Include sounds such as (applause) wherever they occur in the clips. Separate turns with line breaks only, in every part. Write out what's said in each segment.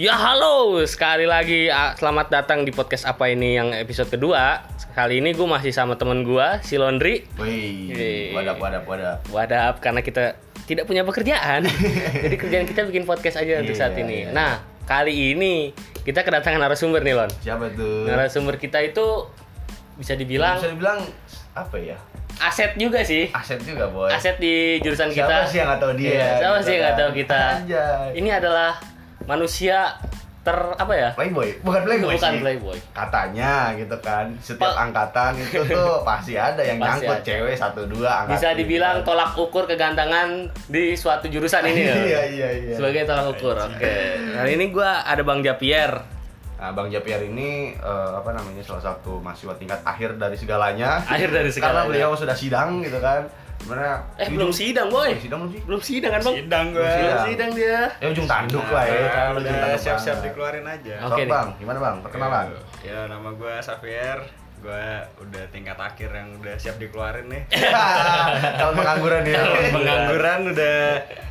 Ya halo, sekali lagi ah, selamat datang di podcast apa ini yang episode kedua. Kali ini gue masih sama temen gue, si Laundry.
Wih, wadap, wadap, wadap.
Wadap, karena kita tidak punya
(laughs)
pekerjaan. Jadi kerjaan kita bikin podcast aja untuk
Iya,
saat ini.
iya.
Nah, kali ini kita kedatangan narasumber nih Lon.
Siapa tuh?
Narasumber kita itu bisa dibilang
Bisa dibilang apa ya?
aset juga sih.
Aset juga, boy.
Aset di jurusan kita.
Siapa sih yang nggak tahu dia?
Iya, siapa
gitu
sih yang nggak
kan?
tahu kita?
Anjay.
Ini adalah manusia ter apa ya?
Playboy, bukan Playboy
Bukan
sih.
playboy.
Katanya gitu kan, setiap
Pal-
angkatan itu
(laughs)
tuh pasti ada yang
Pasti
nyangkut
ada.
cewek satu dua angkatan.
Bisa
(laughs)
dibilang tolak ukur kegantangan di suatu jurusan ini. Lon.
iya, iya, iya.
Sebagai tolak ukur. Oke. Hari Nah, ini gua ada Bang Japier.
Nah, Bang Japier ini eh, apa namanya salah satu mahasiswa tingkat akhir dari segalanya.
Akhir dari
Karena
segalanya.
beliau sudah sidang gitu kan. Sebenarnya
Eh belum sidang boy.
Sidang belum sih?
Belum sidang kan bang?
Sidang gue.
Belum
Belum
sidang.
sidang dia.
Ya ujung tanduk lah ya. Ujung
Nah, udah
tanduk
siap-siap
banget.
dikeluarin aja.
Oke
Sok,
nih.
bang, gimana bang?
(laughs)
Perkenalan. (laughs)
Ya nama gue Safir. Gue udah tingkat akhir yang udah siap dikeluarin nih.
Iya. Calon pengangguran ya.
Pengangguran udah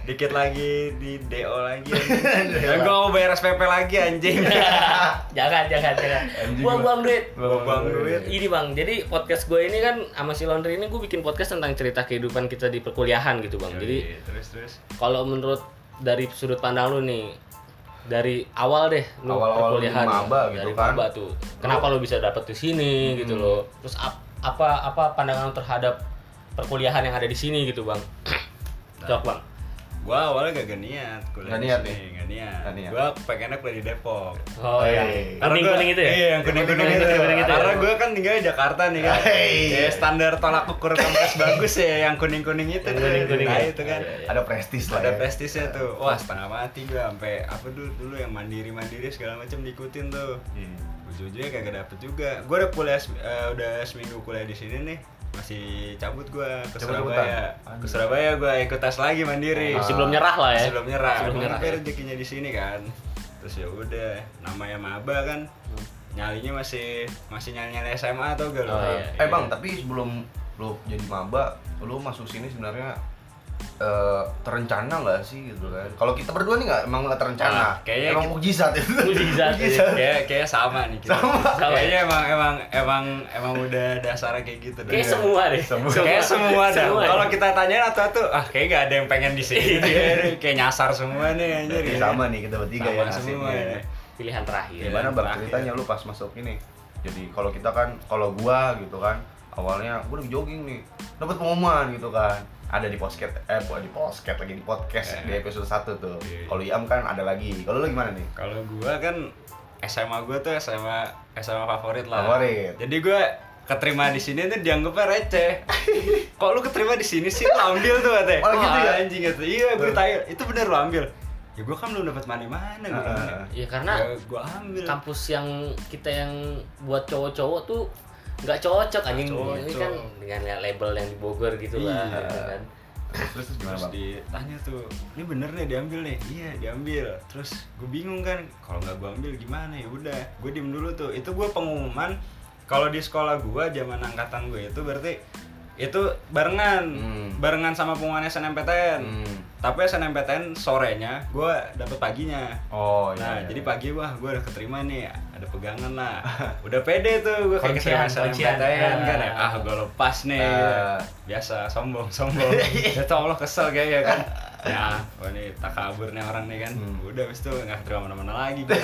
dikit lagi di DO lagi. Dan gue mau bayar SPP lagi anjing. (laughs)
Ah.
Jangan jangan
(laughs)
jangan.
Anjing
Buang buang
gua.
duit.
Buang buang duit.
Ini bang, jadi podcast gue ini kan sama si Laundry ini gue bikin podcast tentang cerita kehidupan kita di perkuliahan gitu
Iya,
bang. Jadi
Yoi, terus terus.
kalau menurut dari sudut pandang lu nih dari awal deh lu
Awal-awal lu
perkuliahan
maba gitu
dari
kan.
maba tuh kenapa lu bisa dapet di sini gitu loh terus ap- apa apa pandangan lu terhadap perkuliahan yang ada di sini gitu bang cocok bang
Gue awalnya gak niat kuliah
Gak
di
niat
sini,
nih?
gak niat.
Gak niat.
Gue pengennya kuliah di Depok.
oh
Hey.
iya
Karena
kuning
gua-
kuning itu ya
Iya, yang kuning kuning,
Kuning-kuning
itu.
itu, kuning itu.
Karena gue kan tinggal di Jakarta nih kan.
Hey.
Ya, standar tolak ukur
(laughs)
kampus bagus ya, yang kuning kuning itu.
Yang kuning-kuning
Nah,
ya.
itu kan.
Iya, iya.
Ada prestis lah.
Ada
ya.
prestisnya tuh. Wah, setengah mati gue sampai apa dulu dulu yang mandiri mandiri segala macam diikutin tuh.
Iya.
Ujung-ujungnya kagak dapet juga. Gue udah kuliah sem- eh, udah seminggu kuliah di sini nih masih cabut gue ke
Cabut-cabutan.
Surabaya. Ke Surabaya gue ikut tes lagi mandiri.
masih belum nyerah lah ya
Sebelum nyerah.
Sebelum
Emang
nyerah,
tapi
ya.
rezekinya di sini kan. Terus ya udah, namanya maba kan. Nyalinya masih masih nyali-nyali SMA atau gak lo?
Oh, iya.
Eh bang, tapi sebelum lu jadi maba, lu masuk sini sebenarnya eh, terencana nggak sih gitu kan? Kalau kita berdua nih nggak emang nggak terencana.
Nah, kayaknya
emang
kita- iya.
mukjizat itu. (laughs)
Mukjizat,
Kayak kayak sama nih kita.
Sama.
Kayaknya emang emang emang emang udah dasarnya kayak gitu
kayak
dah.
semua deh
Semua.
Kayak semua dah.
Semua.
Kalau kita tanyain atau tuh ah kayak gak ada yang pengen di
Iya.
sini. Dia kayak nyasar semua nih anjir.
Jadi sama nih kita bertiga
Sama
ya
semua
nasibnya.
ya.
pilihan terakhir
Gimana bang
Terakhir.
ceritanya lu pas masuk ini? Jadi kalau kita kan, kalau gua gitu kan, awalnya gua lagi jogging nih, dapat pengumuman gitu kan, ada di podcast, eh bukan di podcast lagi di podcast
Eh.
di episode 1 tuh.
Iya.
Kalau Iam kan ada lagi. Kalau lu gimana nih?
Kalau gua kan SMA gua tuh SMA SMA favorit lah.
Favorit.
Jadi gua keterima di sini tuh dianggapnya receh. (laughs) Kok lu keterima di sini sih lu ambil tuh katanya.
Oh, gitu ya?
anjing gitu. Iya, gua tanya, itu bener lu ambil. Ya gua kan belum dapat mana-mana gua.
Ah.
bilang.
ya karena
Ya, gua ambil.
kampus yang kita yang buat cowok-cowok tuh nggak cocok anjing
Nggak
ini
cocok.
kan dengan label yang di Bogor gitu lah
Iya.
gitu kan.
Terus terus gimana
Terus
bang?
ditanya tuh, ini bener nih diambil nih? Iya diambil. Terus gue bingung kan, kalau nggak gue ambil gimana ya udah. Gue diem dulu tuh. Itu gue pengumuman. Kalau di sekolah gue zaman angkatan gue itu berarti itu barengan,
Hmm.
barengan sama pengumuman SNMPTN.
Hmm.
Tapi SNMPTN sorenya, gue dapet paginya.
Oh iya.
nah,
iya.
jadi pagi wah gue udah keterima nih, ada pegangan
(laughs)
lah. Udah pede tuh gue kayak
Kuncian,
keterima
kuncian.
SNMPTN kan ya.
Ah.
Ah, gue lepas nih.
Ah. Iya.
Biasa sombong,
(laughs)
sombong. ya tau Allah kesel kayaknya kan. Ya, wah nih tak kabur nih orang nih kan.
Hmm.
Udah abis itu nggak keterima mana-mana
(laughs)
lagi. gua.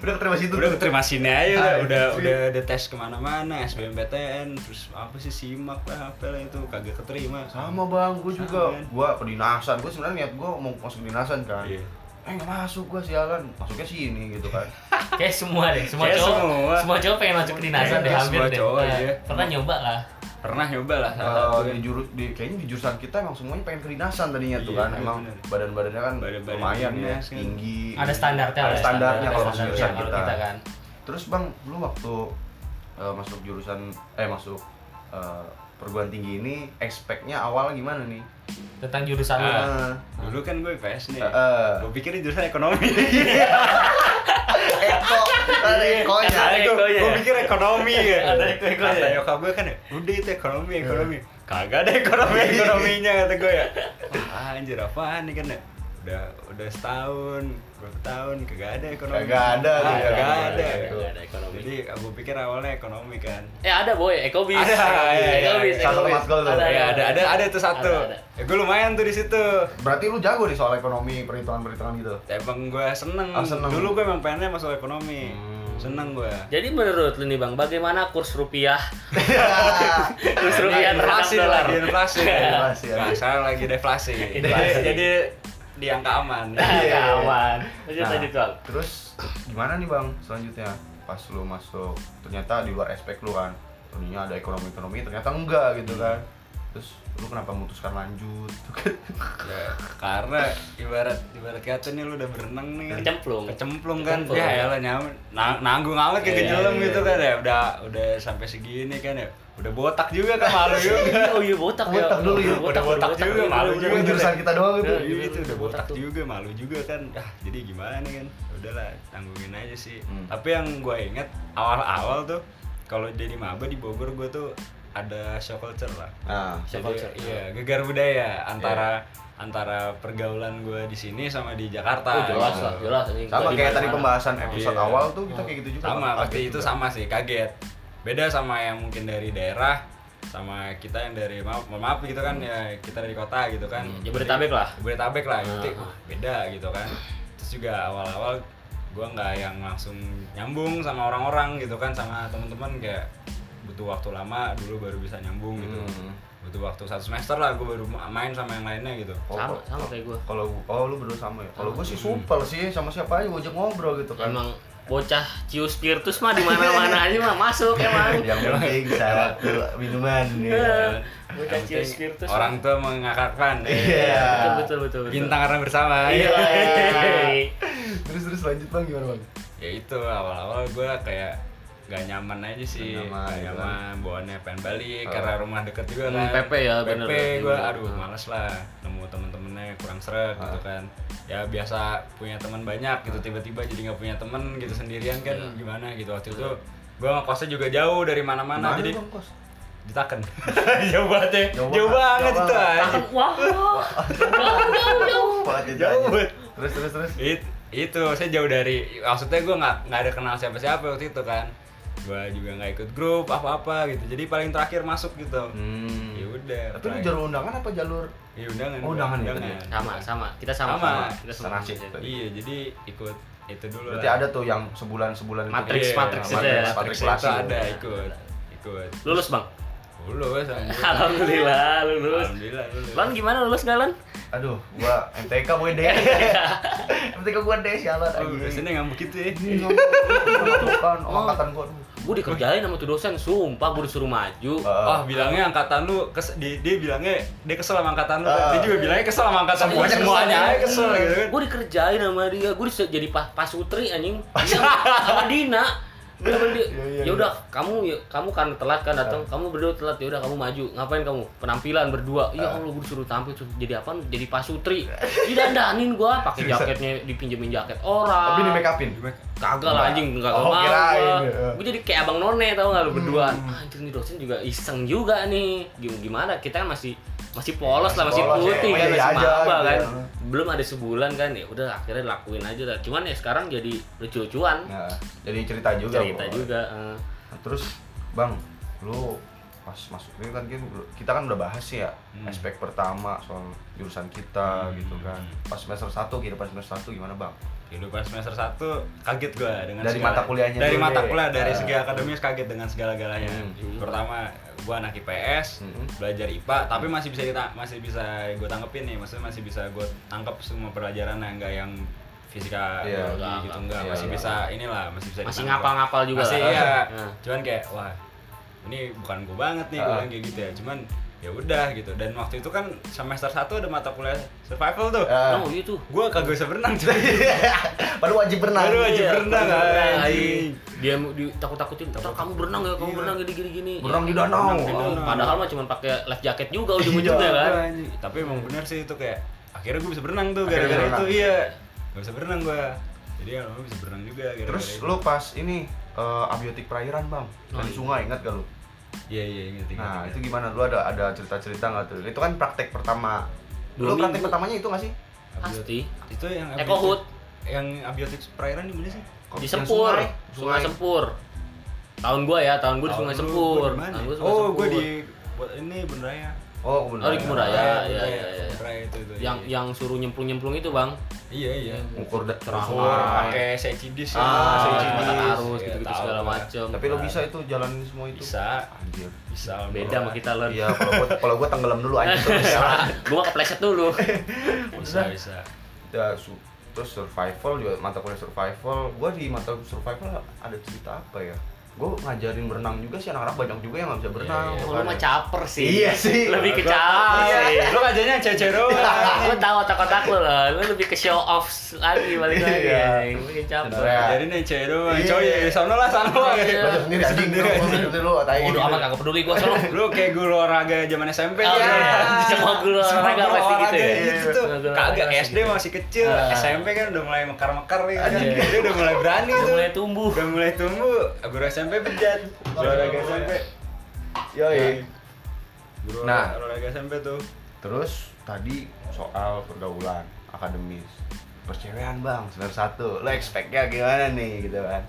udah keterima situ.
udah keterima sini aja udah
Ah,
udah,
iya.
udah ada tes kemana-mana SBMPTN terus apa sih simak lah apa lah itu kagak keterima
sama bang, gue juga,
Sama, kan?
gue kedinasan, gue sebenarnya niat gue mau masuk dinasan kan,
Iya.
eh nggak masuk gue sialan, masuknya sini gitu
(laughs)
kan,
Kayak semua deh, semua
Kayak
cowok,
semua.
semua cowok pengen masuk kedinasan deh
Iya,
hampir
semua
deh.
cowok,
Nah,
iya.
Pernah nyoba lah.
pernah nyoba lah salah
Eh,
satu kan.
di jurus, di, kayaknya di jurusan kita emang semuanya pengen kedinasan tadinya tuh
Iya,
kan,
iya,
emang
bener.
badan-badannya kan
Badan-badan
lumayan ya,
dinas, kan.
tinggi,
Ada standarnya
ada
lah,
standarnya
standar- ada
kalau masuk
standarnya
jurusan
kalau
kita.
kita kan.
Terus bang, lu waktu eh, masuk jurusan, eh masuk eh, perguruan tinggi ini, expect-nya awal gimana nih?
Tentang jurusan lu.
Ah.
lah.
Eh,
dulu kan gue IPS nih
Heeh.
gue pikir ini jurusan
(laughs)
ekonomi Iya.
Eh, Eko, ada Ekonya.
Ada
gue
ekonya ya?
pikir ekonomi ya
(laughs) Ada Hmm. ekonya
kata
ya?
nyokap gue kan ya udah itu ekonomi
(laughs)
ekonomi kagak ada ekonomi ekonominya kata gue ya Wah, anjir "Ah, apaan nih kan ya udah udah setahun dua tahun kagak ada ekonomi
Kagak ada,
Ah,
iya,
kagak
kagak
ada,
ada,
kagak ada ekonomi.
jadi aku pikir awalnya ekonomi kan
Eh ada boy, ekobis.
Ada, iya, iya.
ekobis.
Satu
ekobis.
mas gol tuh.
Ada,
ya, ada ada ada tuh satu
Ada, ada.
ya gue lumayan tuh di situ
Berarti lu jago nih soal ekonomi, perhitungan-perhitungan gitu.
emang gue seneng.
Ah, seneng.
dulu gue emang pengennya masuk ekonomi
Hmm.
seneng gue
Jadi menurut lu nih bang, bagaimana kurs rupiah?
Iya.
(laughs)
kurs rupiah terhadap
Nah, inflasi
dolar.
lagi (laughs) inflasi
Inflasi, ya.
Nah, sekarang lagi deflasi jadi,
Inflasi.
jadi di angka aman
Iya.
(laughs) Kawan. Lanjut
Nah,
lanjut bang.
Terus gimana nih bang selanjutnya? Pas lu masuk, ternyata di luar aspek lu kan, tadinya ada ekonomi-ekonomi, ternyata enggak gitu kan. Terus lu kenapa memutuskan lanjut?
(laughs)
gitu kan?
Ya, karena ibarat ibarat kata nih lu udah berenang nih
Kecemplung.
kecemplung kan
Kecemplung.
ya elah nyaman Nang- nanggung amat kayak
Iya,
kejelem
iya,
gitu
iya.
kan ya udah udah sampai segini kan ya udah botak juga kan malu juga
Oh iya botak ya.
Botak dulu ya,
Botak
udah
botak,
botak juga, malu
dulu,
juga.
Cuma jurusan kita doang
udah
gitu.
Iya.
gitu udah botak
Botak tuh.
juga malu juga kan ah jadi gimana kan udahlah tanggungin aja sih
Hmm.
tapi yang gue inget awal-awal tuh kalau jadi maba di Bogor gue tuh ada show culture lah
Nah,
Show
jadi,
culture. ya. Iya.
iya gegar budaya antara antara pergaulan gue di sini sama di Jakarta
Oh,
Gitu.
jelas lah, jelas. Ini
sama
dari
kayak tadi
mana-mana.
pembahasan episode
Iya.
awal tuh kita kayak gitu juga.
sama
Kaget
pasti itu
juga.
sama sih kaget beda sama yang mungkin dari daerah sama kita yang dari maaf mohon maaf gitu
Hmm.
kan ya kita dari kota gitu kan
Ya, Jabodetabek lah.
Jabodetabek lah jadi
Ah.
wah, beda gitu kan terus juga awal-awal gua nggak yang langsung nyambung sama orang-orang gitu kan sama teman-teman kayak butuh waktu lama dulu baru bisa nyambung gitu
Hmm.
butuh waktu satu semester lah gue baru main sama yang lainnya gitu
Oh,
Sama,
kok-
sama kayak gua.
Kalau gua- oh lu berdua sama ya. Kalau
Sama.
gua sih supel sih sama siapa aja gua ajak ngobrol gitu kan.
Emang bocah cius spiritus mah di mana-mana aja mah masuk emang.
yang penting syarat dulu minuman ya.
Iya. Bocah
Yang
cius
penting
spiritus.
orang tua mengakakkan
Betul
Iya.
betul betul. betul.
bintang karena bersama
Iya.
Terus terus lanjut bang gimana bang?
ya itu awal-awal gue kayak gak nyaman aja sih
Gak nyaman,
gak
gitu
nyaman bawaannya pengen balik
Oh.
karena rumah deket juga
Hmm,
kan
PP ya, bener.
gue
Iya.
aduh males lah nemu temen-temennya kurang seret gitu
Ah.
kan ya biasa punya teman banyak gitu tiba-tiba jadi nggak punya temen gitu sendirian kan gimana gitu waktu itu gue ngekosnya juga jauh dari mana-mana jadi
bang kos?
ditaken (laughs) jauh banget ya
Jauh
jauh,
banget.
banget, itu
Jauh
anjing.
Akan wah. wah. Jauh jauh jauh.
Banget itu
Jauh.
aja. Terus terus terus.
It- itu saya jauh dari maksudnya gue nggak nggak ada kenal siapa siapa waktu itu kan gue juga nggak ikut grup apa apa gitu jadi paling terakhir masuk gitu
Hmm.
ya udah
Tapi lu
paling-
jalur undangan apa jalur?
ya undangan
Oh,
gua,
undangan ya tadi
Sama sama. Kita sama.
Sama.
Kita sama.
Senasib.
iya jadi ikut itu dulu
Berarti
lah.
ada tuh yang sebulan-sebulan gitu. itu.
Matrix,
Iya,
matrix itu ya.
matrix,
Matrix
matrix
itu ada
ada.
ikut ikut
Lulus bang.
(laughs)
lulus alhamdulillah
Alhamdulillah lulus.
alhamdulillah lulus
Lan gimana lulus gak Lan?
Aduh, gua MTK boy deh. MTK gua deh sialan
Oh,
anjing. Iya,
biasanya nggak begitu ya
Ini ngomong kan angkatan gua aduh.
Gue dikerjain sama tuh dosen, sumpah gue disuruh maju.
Ah.
Oh, bilangnya angkatan lu, kes, dia, dia bilangnya dia kesel sama angkatan lu, kan.
Ah.
dia juga bilangnya kesel sama angkatan gua
Semuanya kesel.
semuanya aja kesel gitu kan.
gue Iya, dikerjain sama dia gue bisa jadi pa- pasutri anjing Dia sama Dina Dia
(laughs)
sama dia,
Iya, iya,
ya udah kamu ya, kamu kan telat kan datang kamu berdua telat ya udah kamu maju ngapain kamu penampilan berdua iya allah gue disuruh tampil suruh jadi apa jadi pasutri didandanin gue pakai
Seriusan?
jaketnya dipinjemin jaket orang
Tapi di make upin.
kagak lah anjing nggak
Oh,
mau
kirain, Hmm.
gue
iya.
gue jadi kayak abang none tau nggak lu berduaan anjing nih dosen juga iseng juga nih Gim- gimana kita kan masih masih polos lah masih
Masih polos,
putih
ya.
kan
Iya
masih
aja,
maba
gitu
kan
ya.
belum ada sebulan kan ya udah akhirnya lakuin aja lah cuman ya sekarang jadi lucu-lucuan
Nah, jadi cerita juga.
cerita
Bang.
juga eh.
Nah, terus, Bang, lu pas masuk ini kan kita- kita kan udah bahas ya
Hmm.
aspek pertama soal jurusan kita
Hmm.
gitu kan. Pas semester 1 kehidupan semester 1 gimana, Bang?
Kehidupan semester 1 kaget gua dengan
Dari mata kuliahnya
Dari
dulu
mata
deh.
kuliah dari
Ah.
segi akademis kaget dengan segala-galanya.
Hmm.
Pertama gua anak IPS,
Hmm.
belajar IPA tapi masih bisa kita masih bisa gua tanggepin nih, maksudnya masih bisa gua tangkep semua pelajaran yang enggak yang fisika
Iya.
biologi
Enggak,
gitu
enggak.
enggak
Iya,
masih
enggak.
bisa inilah masih bisa
masih
ditangkep.
ngapal-ngapal juga
masih
lah.
iya
Eh.
cuman kayak wah ini bukan gue banget nih gue
Ah.
bilang kayak gitu ya cuman ya udah gitu dan waktu itu kan semester 1 ada mata kuliah survival tuh
Eh,
oh iya tuh
gue kagak bisa berenang cuy
(laughs) baru wajib berenang.
Baru wajib
Iya,
berenang,
berenang,
anjing.
dia di- takut-takutin "Ntar kamu berenang ya kamu
Iya.
berenang gini-gini gini."
Berenang di danau.
Berenang di danau.
Oh.
padahal mah cuma pakai life jacket juga ujung-ujungnya
Iya.
kan
tapi emang bener sih itu kayak akhirnya gue bisa berenang tuh
Akhirnya
gara-gara itu
berenang.
iya gak bisa berenang gue jadi ya lama bisa berenang juga gara-gara
Terus
itu.
lu pas ini eh, abiotik perairan, Bang.
Oh,
Dari
iya.
sungai, ingat gak lu?
iya iya ingat ingat
Nah,
ingat.
itu gimana? Lu ada ada cerita-cerita nggak tuh? Itu kan praktek pertama.
Dua
lu praktek
minggu.
pertamanya itu nggak sih?
Pasti.
Itu yang
Eko
abiotik-
Hood.
Yang abiotik perairan di mana sih?
Di
Yang
Sempur.
sungai.
Sungai
Sungai.
Sempur. Tahun gua ya, tahun gua di
Tahun
Sungai
lu
Sempur.
gua di mana?
Tahun gua Sungai
Oh,
Sempur.
gue di buat ini Benraya.
Oh,
Oh,
kemudian.
di Kemuraya.
Benraya,
iya,
Benraya,
iya, iya.
Benraya itu itu.
yang
iya.
yang suruh nyemplung-nyemplung itu, Bang.
iya iya.
Ngukur da-
Terang.
Oh, pakai ya. secidis
Ah, saya
saya jenis.
arus
Ya,
gitu-gitu
tahu
segala
lah.
macem.
Tapi lo bisa itu jalanin semua itu.
Bisa,
Anjir.
bisa.
Beda sama kita, Lon.
Iya, kalau gua kalau gua tenggelam dulu
(laughs)
anjir terus jalan.
gua kepleset dulu.
Bisa, bisa.
Ya, su- terus survival juga mata kuliah survival. Gua di mata survival ada cerita apa ya? Gua ngajarin berenang juga sih anak-anak banyak juga yang nggak bisa berenang.
Iya, iya.
Oh,
Bukan
lu mah
ya.
caper sih.
Iya sih.
Lebih ke
Gua-
caper. sih.
Iya. Lu ngajarnya
(laughs)
cecer
Lu tahu otak-otak lu loh. Lu lebih ke show off lagi balik lagi.
Iya.
anjing. Lu bikin caper.
Sebenarnya.
Jadi nih cewek doang,
Iya.
coy, sono lah, sono lah.
Iya.
Baca sendiri anjing
Sendiri,
lu,
anjing.
sendiri lu tai.
Bodoh amat kagak peduli gua sono.
Lu kayak guru olahraga zaman SMP
Oh,
ya.
iya. Semua guru olahraga
guru
pasti gitu ya?
olahraga gitu tuh.
Semua guru
Kagak
olahraga
SD masih kecil,
Ah.
SMP kan udah mulai mekar-mekar nih kan.
Iya.
Dia udah mulai berani
Udah
tuh.
mulai tumbuh.
Udah mulai tumbuh. Guru SMP bejat. Guru olahraga SMP. Iya. Nah.
Yoi.
Guru
Nah.
olahraga SMP tuh.
Terus tadi soal pergaulan akademis percewaan bang semester satu lo expectnya gimana nih gitu kan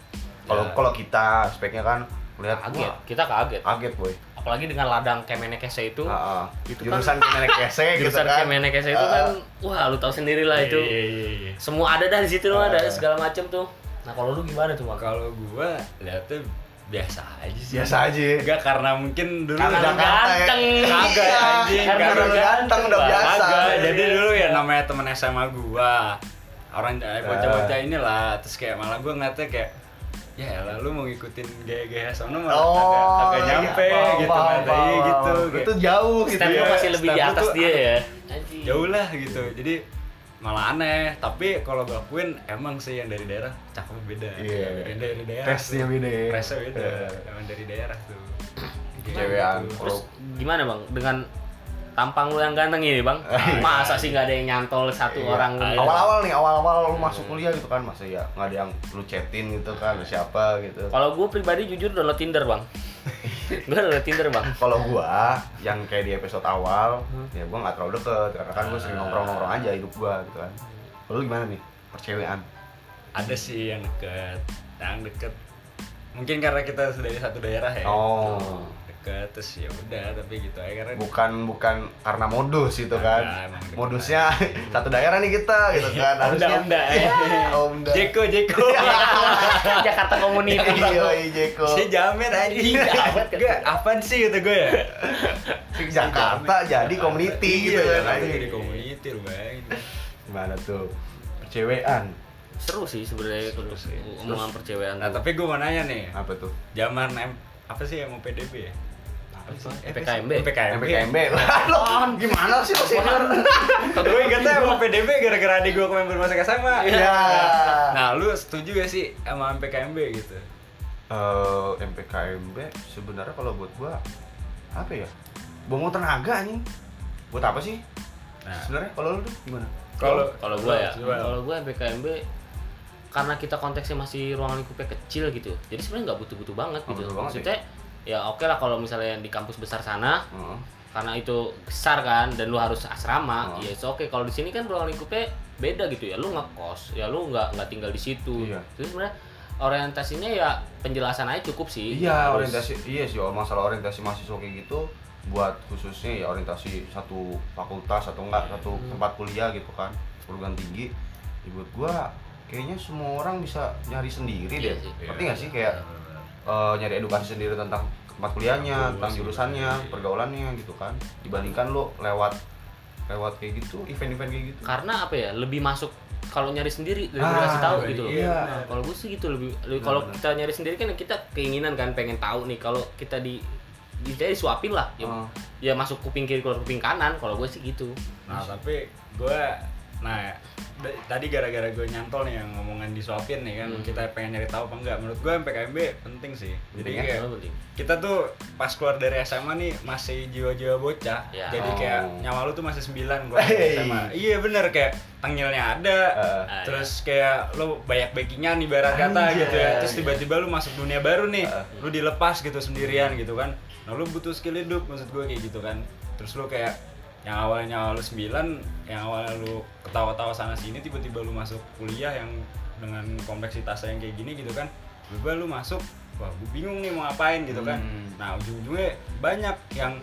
kalau
Ya.
kalau kita speknya kan lihat
Iya. Kaget.
wah,
Kita kaget.
kaget boy
Apalagi dengan ladang Kemenekese itu.
Ah, ah.
itu kan-
jurusan kemenekese gitu
jurusan
kan
Kemenekes itu kan wah lu tahu sendiri lah Nah, itu
Ah. Iya, Ah. iya, iya.
semua ada dah di situ loh ada
Eh.
segala macam tuh nah kalau lu gimana tuh Mak?
iya. Kalau gua lihatnya biasa aja sih.
biasa aja
Enggak karena mungkin dulu
Karena
udah ya.
lu ganteng
Kagak
Iya,
anjing,
karena
kagak.
lu ganteng udah
Bang.
biasa.
Kagak, jadi
iya
dulu ya namanya temen SMA gua Orang eh, bocah-bocah inilah Terus kayak malah gua ngeliatnya kayak Ya elah lu mau ngikutin gaya-gaya sono malah kagak, kagak
iya,
nyampe
paham,
gitu
paham,
ngeliatnya, iya
paham.
gitu
Itu jauh gitu
step lu
Iya,
masih lebih di
step lu
atas
tuh
dia ya
kayak, Jauh lah gitu, jadi malah aneh Tapi kalau gua akuin emang sih yang dari daerah cakep beda
Iya.
Yang dari daerah
Tesnya beda ya.
Presnya beda,
Iya.
emang dari daerah tuh Kayak
Cewekan.
gitu.
terus gimana bang dengan tampang lu yang ganteng ini bang
Ah, iya.
masa sih nggak ada yang nyantol satu
Iya.
orang
awal-awal nih awal-awal lu masuk kuliah gitu kan masa ya nggak ada yang lu chatin gitu kan lu siapa gitu
kalau gue pribadi jujur download Tinder
(laughs)
bang gue download Tinder bang (laughs)
kalau gua yang kayak di episode awal
Hmm.
ya gua nggak terlalu deket karena kan gua sering nongkrong nongkrong aja hidup gua gitu kan Kalau lu gimana nih percewaan
ada sih yang deket yang deket mungkin karena kita dari satu daerah ya
Oh.
deket terus ya udah tapi gitu aja karena
bukan bukan karena modus gitu kan
Nah, emang deket
modusnya (laughs) satu daerah nih kita gitu kan
Onda,
harusnya
onda.
(laughs) Iya, onda
Jeko Jeko
Jakarta Community
iya Jeko Iya, kan
saya jamet anjing enggak apaan sih gitu gue ya
Jakarta jadi community gitu
Iya,
kan
Jakarta
anjing.
jadi community lu bayangin
gimana tuh percewaan
seru sih sebenarnya
Seru sih.
omongan percewaan
nah
tuh.
tapi (laughs) gue mau nanya nih
apa tuh
zaman M apa sih yang mau PDB ya Apa sih? Eh,
PKMB.
(laughs)
PKMB
MPKMB lo gimana sih lo senior
gue ingetnya mau PDB gara-gara adik gue kemarin bermasak SMA
Iya.
nah lu setuju gak sih sama PKMB gitu
Eh, MPKMB sebenarnya kalau buat gua apa ya? Buang tenaga anjing. Buat apa sih?
Nah.
Sebenarnya kalau lu tuh gimana?
Kalau
kalau gua ya
Coba.
kalau gua PKMB karena kita konteksnya masih ruang lingkupnya kecil gitu jadi sebenarnya nggak butuh-butuh banget
Nggak
gitu
butuh banget
maksudnya ya oke lah kalau misalnya di kampus besar sana
Heeh.
karena itu besar kan dan lu harus asrama
Oh.
ya oke kalau di sini kan ruang lingkupnya beda gitu ya lu ngekos ya lu nggak nggak tinggal di situ
Iya.
terus sebenarnya orientasinya ya penjelasan aja cukup sih
Iya,
Harus-
orientasi iya sih oh, masalah orientasi mahasiswa kayak gitu buat khususnya ya orientasi satu fakultas atau enggak satu
Hmm.
tempat kuliah gitu kan perguruan tinggi ya buat gua kayaknya semua orang bisa nyari sendiri
Iya
deh
sih.
ngerti nggak sih kayak eh, nyari edukasi sendiri tentang tempat
Kampus,
kuliahnya, tentang jurusannya,
iya.
pergaulannya gitu kan. Dibandingkan lo lewat lewat kayak gitu, event-event kayak gitu.
karena apa ya lebih masuk kalau nyari sendiri lebih
Ah,
kasih tahu gitu loh.
iya.
Nah, kalau gue sih gitu lebih lebih- kalau
Benar-benar.
kita nyari sendiri kan kita keinginan kan pengen tahu nih kalau kita di di kita disuapin lah ya,
Ah.
ya masuk kuping kiri keluar kuping kanan kalau gue sih gitu
nah tapi gue nah d- tadi gara-gara gue nyantol nih yang ngomongan disuapin nih kan
Hmm.
kita pengen nyari tahu apa enggak menurut gue PKMB penting sih jadi
Penting ya?
kayak
Itu penting
kita tuh pas keluar dari SMA nih masih jiwa-jiwa bocah
Ya.
jadi kayak
Oh.
nyawa lu tuh masih 9 gua waktu SMA iya bener kayak tengilnya ada
Eh.
Ah,
terus kayak lu banyak backingan ibarat kata
Anjay.
gitu ya terus tiba-tiba lu masuk dunia baru nih
Eh.
lu dilepas gitu sendirian gitu kan nah lu butuh skill hidup maksud gue kayak gitu kan terus lu kayak yang awalnya lu 9 yang awalnya lu ketawa-tawa sana sini tiba-tiba lu masuk kuliah yang dengan kompleksitasnya yang kayak gini gitu kan tiba lu masuk wah gue bingung nih mau ngapain gitu kan
Hmm.
nah ujung-ujungnya banyak yang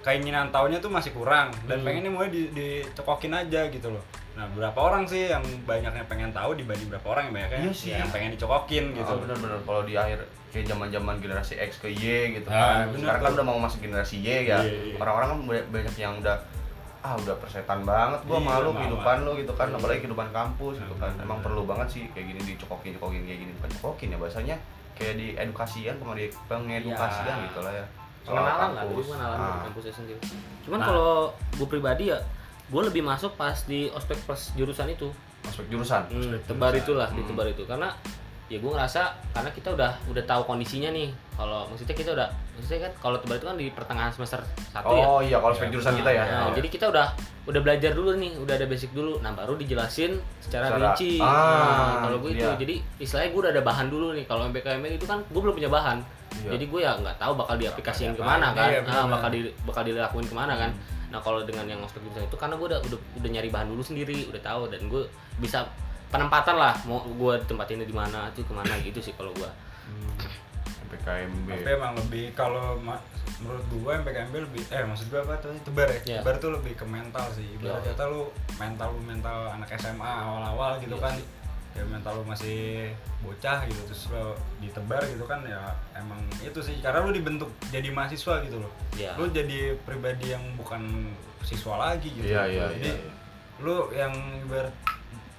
keinginan tahunnya tuh masih kurang
Hmm.
dan pengennya mulai di- dicekokin aja gitu loh nah berapa orang sih yang banyaknya pengen tahu dibanding berapa orang yang banyaknya
Iya sih.
yang pengen dicekokin gitu
gitu bener-bener kalau di akhir kayak zaman-zaman generasi X ke Y gitu
Ah,
kan
bener
sekarang kan
tuh.
udah mau masuk generasi Y ya
Iya, iya.
orang-orang kan ba- banyak yang udah ah udah persetan banget gua
Iya,
malu
malu.
kehidupan lu gitu kan
Iya.
apalagi kehidupan kampus gitu kan
Bener.
emang perlu banget sih kayak gini dicokokin cokokin kayak gini bukan cokokin ya bahasanya kayak di edukasian pengedi pengedukasian
Iya.
gitu lah ya Soal
pengenalan lah dulu
kampus.
pengenalan dari
Ah.
kampusnya sendiri cuman
Nah.
kalau gue pribadi ya gue lebih masuk pas di ospek plus jurusan itu
masuk jurusan
Hmm, tebar itulah di
Hmm.
tebar itu karena ya gue ngerasa karena kita udah udah tahu kondisinya nih kalau maksudnya kita udah maksudnya kan kalau tebar itu kan di pertengahan semester satu ya
oh iya kalau
Iya.
spek jurusan kita ya
Nah,
Oh.
jadi kita udah udah belajar dulu nih udah ada basic dulu nah baru dijelasin secara,
Secara-
rinci
Ah,
Nah, kalau gue itu
iya.
jadi istilahnya gue udah ada bahan dulu nih kalau MBKML itu kan gue belum punya bahan
Iya.
jadi gue ya nggak tahu bakal diaplikasiin
Bakal
kemana kan
diapain, iya,
nah,
benar.
bakal di, bakal dilakuin kemana kan nah kalau dengan yang ospek jurusan itu karena gue udah, udah udah nyari bahan dulu sendiri udah tahu dan gue bisa penempatan lah mau gue tempatinnya di mana itu kemana gitu sih kalau gue
Hmm. PKMB
tapi emang lebih kalau ma- menurut gua MPKMB lebih eh maksud gua apa tuh tebar ya
Iya.
tebar tuh lebih ke mental sih ibarat
Iya.
kata lu mental lu mental anak SMA awal-awal gitu
Iya
kan
sih.
ya mental lu masih bocah gitu terus lu ditebar gitu kan ya emang itu sih karena lu dibentuk jadi mahasiswa gitu loh
Iya.
lu jadi pribadi yang bukan siswa lagi gitu
Iya, iya,
jadi
iya, iya.
lu yang ber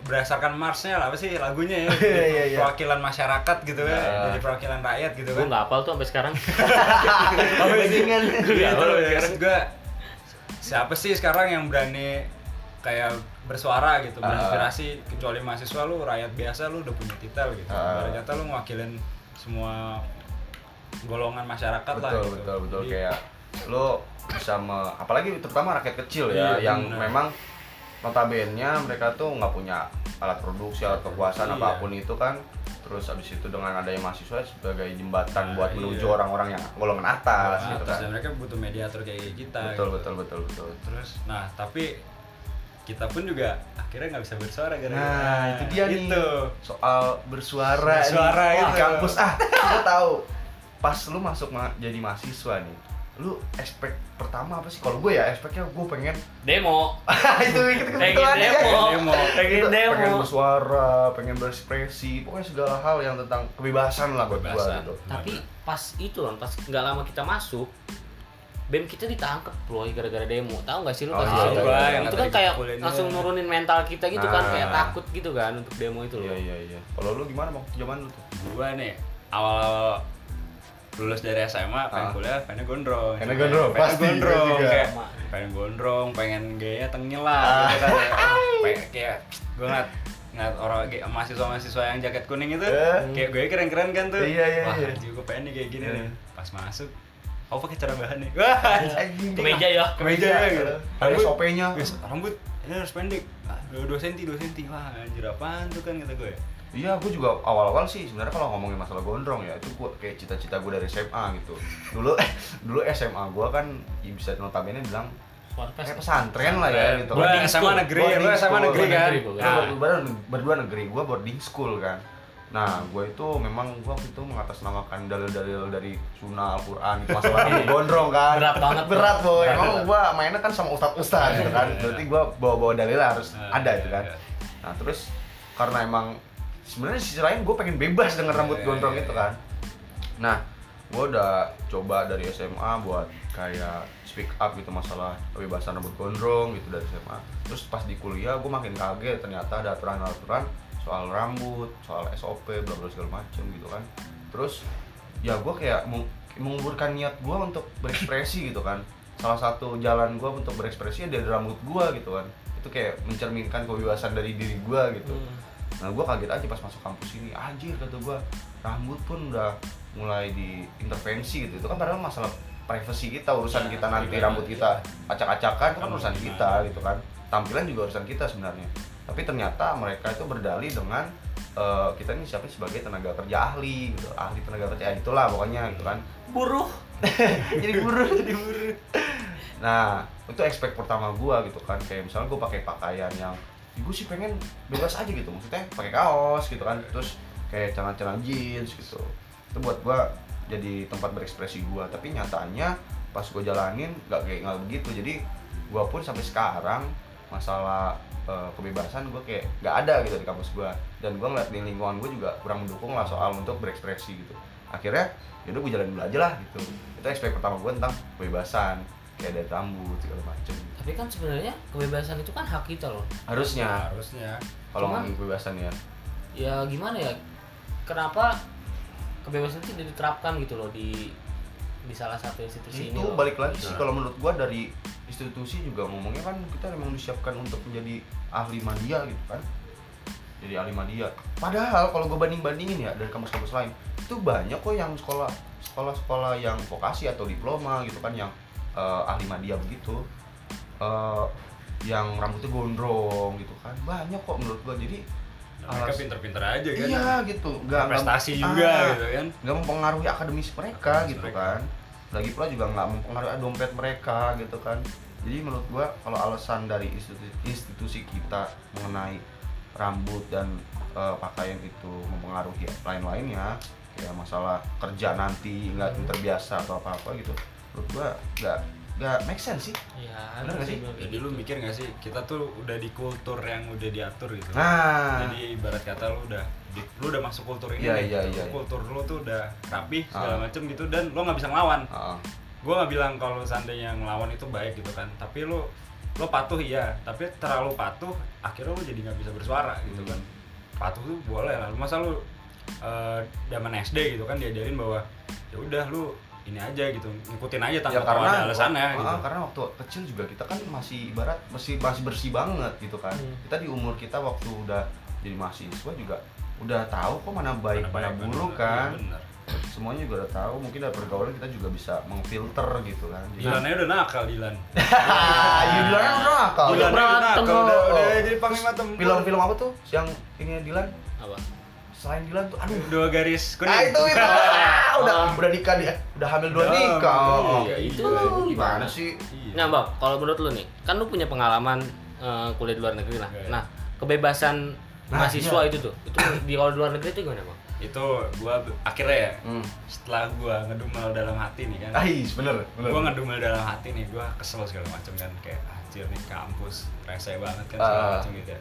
berdasarkan marsnya lah apa sih lagunya ya
(laughs) Iya, iya, iya.
perwakilan masyarakat gitu ya
Iya.
jadi perwakilan rakyat gitu
gue
kan
nggak hafal tuh sampai sekarang (laughs)
Bajingan.
Iya,
Iya,
terus juga siapa sih sekarang yang berani kayak bersuara gitu,
Ah.
berinspirasi kecuali mahasiswa lu rakyat biasa lu udah punya titel gitu.
Ah.
Ibarat kata lu mewakilin semua golongan masyarakat lah
betul,
gitu.
betul betul
Jadi,
kayak lo bisa me, apalagi terutama rakyat kecil ya
Iya,
yang
benar.
memang notabene mereka tuh nggak punya alat produksi alat kekuasaan
Iya.
apapun itu kan terus abis itu dengan adanya mahasiswa sebagai jembatan
Nah,
buat menuju
iya.
orang-orang yang golongan atas
nah,
gitu
terus
kan
dan mereka butuh mediator kayak kita.
betul,
gitu.
betul betul betul
Terus nah, tapi kita pun juga akhirnya nggak bisa bersuara gara-gara
nah itu dia nih
Gitu.
soal bersuara nih.
Bersuara
Wah,
itu.
kampus ah lo tahu pas lu masuk ma- jadi mahasiswa nih lu aspek pertama apa sih kalau gue ya aspeknya gue pengen
demo
Ah, itu itu
pengen
kebetulan ya.
demo
Demo.
pengen
Gitu, pengen
demo
bersuara, pengen berekspresi, pokoknya segala hal yang tentang kebebasan lah buat gua
Kebebasan.
gitu.
tapi pas itu loh pas nggak lama kita masuk bem kita ditangkep loh gara-gara demo tahu nggak sih lu
Oh,
pas
tahu
itu
gua,
yang
itu
tadi
kan kayak
dipukulin
langsung
doang.
nurunin mental kita gitu kan
Nah.
kayak takut gitu kan untuk demo itu loh
Iya iya iya. Kalau lu gimana mau zaman lu tuh?
Gua nih awal-awal lulus dari SMA pengen
Ah.
kuliah pengen gondrong
Pengen gondrong,
pengen
pasti,
gondrong
gua juga. Ah.
kayak pengen gondrong pengen gaya tengil lah gitu kan ya.
(laughs)
pengen kayak gue ngeliat ngeliat orang kayak mahasiswa mahasiswa yang jaket kuning itu
Eh.
kayak gue keren keren kan tuh
Iya, iya,
wah
iya.
anjir gue pengen nih kayak gini
Iya.
nih pas masuk oh pakai cara bahan nih
(laughs)
wah anjir.
Eh,
kemeja ya
kemeja ya gitu
Iya. Ada SOP-nya.
Wis, rambut ini harus pendek Ah, dua dua senti dua senti wah anjir apaan tuh kan kata gue
Iya, gue juga awal-awal sih sebenarnya kalau ngomongin masalah gondrong ya itu gua kayak cita-cita gue dari SMA gitu. Dulu (laughs) dulu SMA gue kan ya bisa notabene bilang kayak pesantren lah ya gitu.
Gua
Boarding
SMA
school.
negeri, lu SMA negeri
boarding
kan?
school,
Nah,
Nah,
ber- berdua, berdua negeri, gue boarding school kan. Nah, gue itu memang gue waktu itu mengatasnamakan dalil-dalil dari sunnah Al-Quran gitu.
(laughs)
Masalahnya gue gondrong kan.
Berat banget.
Berat boy.
Berat,
Emang
berat.
gue mainnya kan sama ustadz-ustadz gitu kan. Berarti gue bawa-bawa dalil harus
Ah,
ada
iya,
itu kan.
iya.
Nah, terus karena emang sebenarnya di sisi lain gue pengen bebas dengan rambut
Iya,
gondrong
iya,
itu
iya.
kan. Nah, gue udah coba dari SMA buat kayak speak up gitu masalah kebebasan rambut gondrong gitu dari SMA. Terus pas di kuliah gue makin kaget ternyata ada aturan-aturan soal rambut, soal SOP, bla bla segala macem gitu kan. Terus ya gue kayak meng- menguburkan niat gue untuk berekspresi gitu kan. Salah satu jalan gue untuk berekspresi ya dari rambut gue gitu kan. Itu kayak mencerminkan kebebasan dari diri gue gitu.
Hmm.
Nah gue kaget aja pas masuk kampus ini Anjir kata gue Rambut pun udah mulai diintervensi gitu Itu kan padahal masalah privacy kita Urusan kita nanti
iya,
rambut
iya.
kita Acak-acakan itu kan
Kamu
urusan
gimana?
kita gitu kan Tampilan juga urusan kita sebenarnya Tapi ternyata mereka itu berdalih dengan eh, Kita ini siapa sebagai tenaga kerja ahli gitu Ahli (laughs) tenaga kerja ya, itulah pokoknya gitu kan
buruh
Jadi buruh Jadi buruh Nah, itu expect pertama gua gitu kan. Kayak misalnya gua pakai pakaian yang gue sih pengen bebas aja gitu maksudnya pakai kaos gitu kan terus kayak celana-celana jeans gitu itu buat gua jadi tempat berekspresi gua tapi nyatanya pas gua jalanin nggak kayak nggak begitu jadi gua pun sampai sekarang masalah eh, kebebasan gua kayak nggak ada gitu di kampus gua dan gua ngeliat di lingkungan gua juga kurang mendukung lah soal untuk berekspresi gitu akhirnya ya yaudah gue jalan dulu aja lah gitu itu expect pertama gua tentang kebebasan kayak dari rambut segala macem
Tapi kan sebenarnya kebebasan itu kan hak kita loh.
harusnya
harusnya
kalau
Cuman-
ngomongin kebebasan ya
Ya gimana ya? Kenapa kebebasan itu tidak diterapkan gitu loh di di salah satu institusi ini?
itu
loh.
balik lagi sih
Nah.
kalau menurut gua dari institusi juga ngomongnya kan kita memang disiapkan untuk menjadi ahli media gitu kan jadi ahli media padahal kalau gua banding bandingin ya dari kampus-kampus lain itu banyak kok yang sekolah sekolah-sekolah yang vokasi atau diploma gitu kan yang eh, ahli media begitu Eh, yang rambutnya gondrong gitu kan banyak kok menurut gua jadi
mereka
alas-
pinter-pinter aja kan
iya gitu nggak nggak-
prestasi
ah,
juga gitu kan
nggak mempengaruhi akademis mereka
Akademis
gitu
mereka.
kan lagi pula juga nggak mempengaruhi dompet mereka gitu kan jadi menurut gua kalau alasan dari institusi, institusi kita mengenai rambut dan eh, pakaian itu mempengaruhi lain-lainnya kayak masalah kerja nanti nggak
Hmm.
terbiasa atau apa apa gitu menurut gua nggak nggak make sense sih
Ya,
Bener nggak sih?
bener.
jadi lu mikir gak sih kita tuh udah di kultur yang udah diatur gitu
nah
jadi ibarat kata lu udah di- lu udah masuk kultur ini
Iya,
nih,
iya,
gitu.
iya.
kultur lu tuh udah rapi
Ah.
segala macem gitu dan lu nggak bisa ngelawan
ah,
gue nggak bilang kalau seandainya ngelawan itu baik gitu kan tapi lu lu patuh iya tapi terlalu patuh akhirnya lu jadi nggak bisa bersuara gitu
Hmm.
kan patuh tuh boleh lah masa lu eh, zaman SD gitu kan diajarin bahwa ya udah lu ini aja gitu ngikutin aja tanpa
ya
tahu
karena
ada alasannya
ah,
gitu
karena waktu kecil juga kita kan masih ibarat masih masih bersih banget gitu kan
Hmm.
kita di umur kita waktu udah jadi mahasiswa juga udah tahu kok mana baik mana,
baik,
buruk
buruk.
kan
Iya, bener.
semuanya juga udah tahu mungkin dari pergaulan kita juga bisa mengfilter gitu kan Jadi- (laughs)
Dilan aja udah nakal Dilan
ah ya Dilan kan udah nakal.
Dilan.
aja udah nakal
Berantem.
udah, udah jadi panglima tempur
film-film apa tuh yang ini Dilan
Apa?
selain Dilan tuh aduh
dua garis kuning
Nah itu
(laughs)
itu Ah, udah
Ah.
udah nikah dia udah hamil dua
Udah,
nikah Oh,
iya,
itu
gimana sih
Iya.
Nah, Bang, kalau menurut lu nih, kan lu punya pengalaman eh, kuliah di luar negeri lah.
Iya.
Nah, kebebasan
Nah,
mahasiswa
iya.
itu tuh, itu di kalau di luar negeri itu gimana, Bang?
itu gua akhirnya ya
hmm.
setelah gua ngedumel dalam hati nih kan
Ais, bener, bener.
gue ngedumel dalam hati nih gue kesel segala macam kan kayak anjir nih kampus rese banget kan segala
Ah.
macam gitu ya.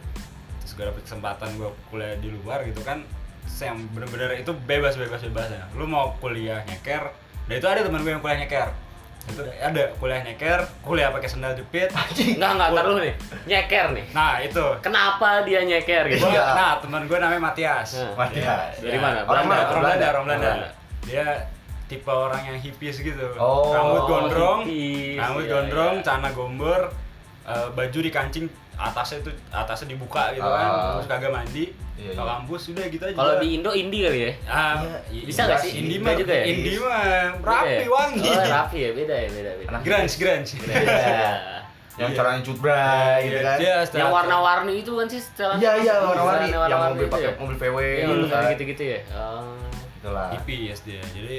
terus gue dapet kesempatan gue kuliah di luar gitu kan terus yang bener-bener itu bebas bebas bebas ya lu mau kuliah nyeker dan itu ada teman gue yang kuliah nyeker itu ada kuliah nyeker kuliah pakai sandal jepit
(laughs)
Enggak, enggak, ntar lu nih. Nyeker nih.
nah itu
Kenapa dia nyeker gitu?
Gua-
Iya.
nah teman gue namanya Matias
Nah.
Matias.
Dari mana?
orang Belanda,
Belanda,
orang Belanda, orang Belanda.
Belanda.
Dia tipe orang yang hippies gitu.
Oh,
rambut gondrong,
hippies,
rambut
iya,
gondrong,
iya.
celana gombor, eh, baju dikancing atasnya itu atasnya dibuka gitu kan,
Ah.
terus kagak mandi.
Iya,
Kalau
iya.
kampus udah gitu aja.
Kalau di Indo indie kali ya.
Ah,
Iya,
bisa nggak sih? Beda
Indi mah
juga ya?
Indi mah rapi
Beda ya?
wangi.
Oh, rapi ya, beda ya, beda beda.
grunge, grunge.
(laughs)
Beda.
Yang
Iya.
caranya cut bray gitu kan.
Dia setelah-
yang warna-warni itu kan sih setelan.
Iya, iya, warna-warni.
Iya, Yang
Yang
warna-warni
mobil
itu
pakai
ya.
mobil VW
Yang
gitu kan.
gitu-gitu ya. Oh.
Itulah.
hippies dia ya. jadi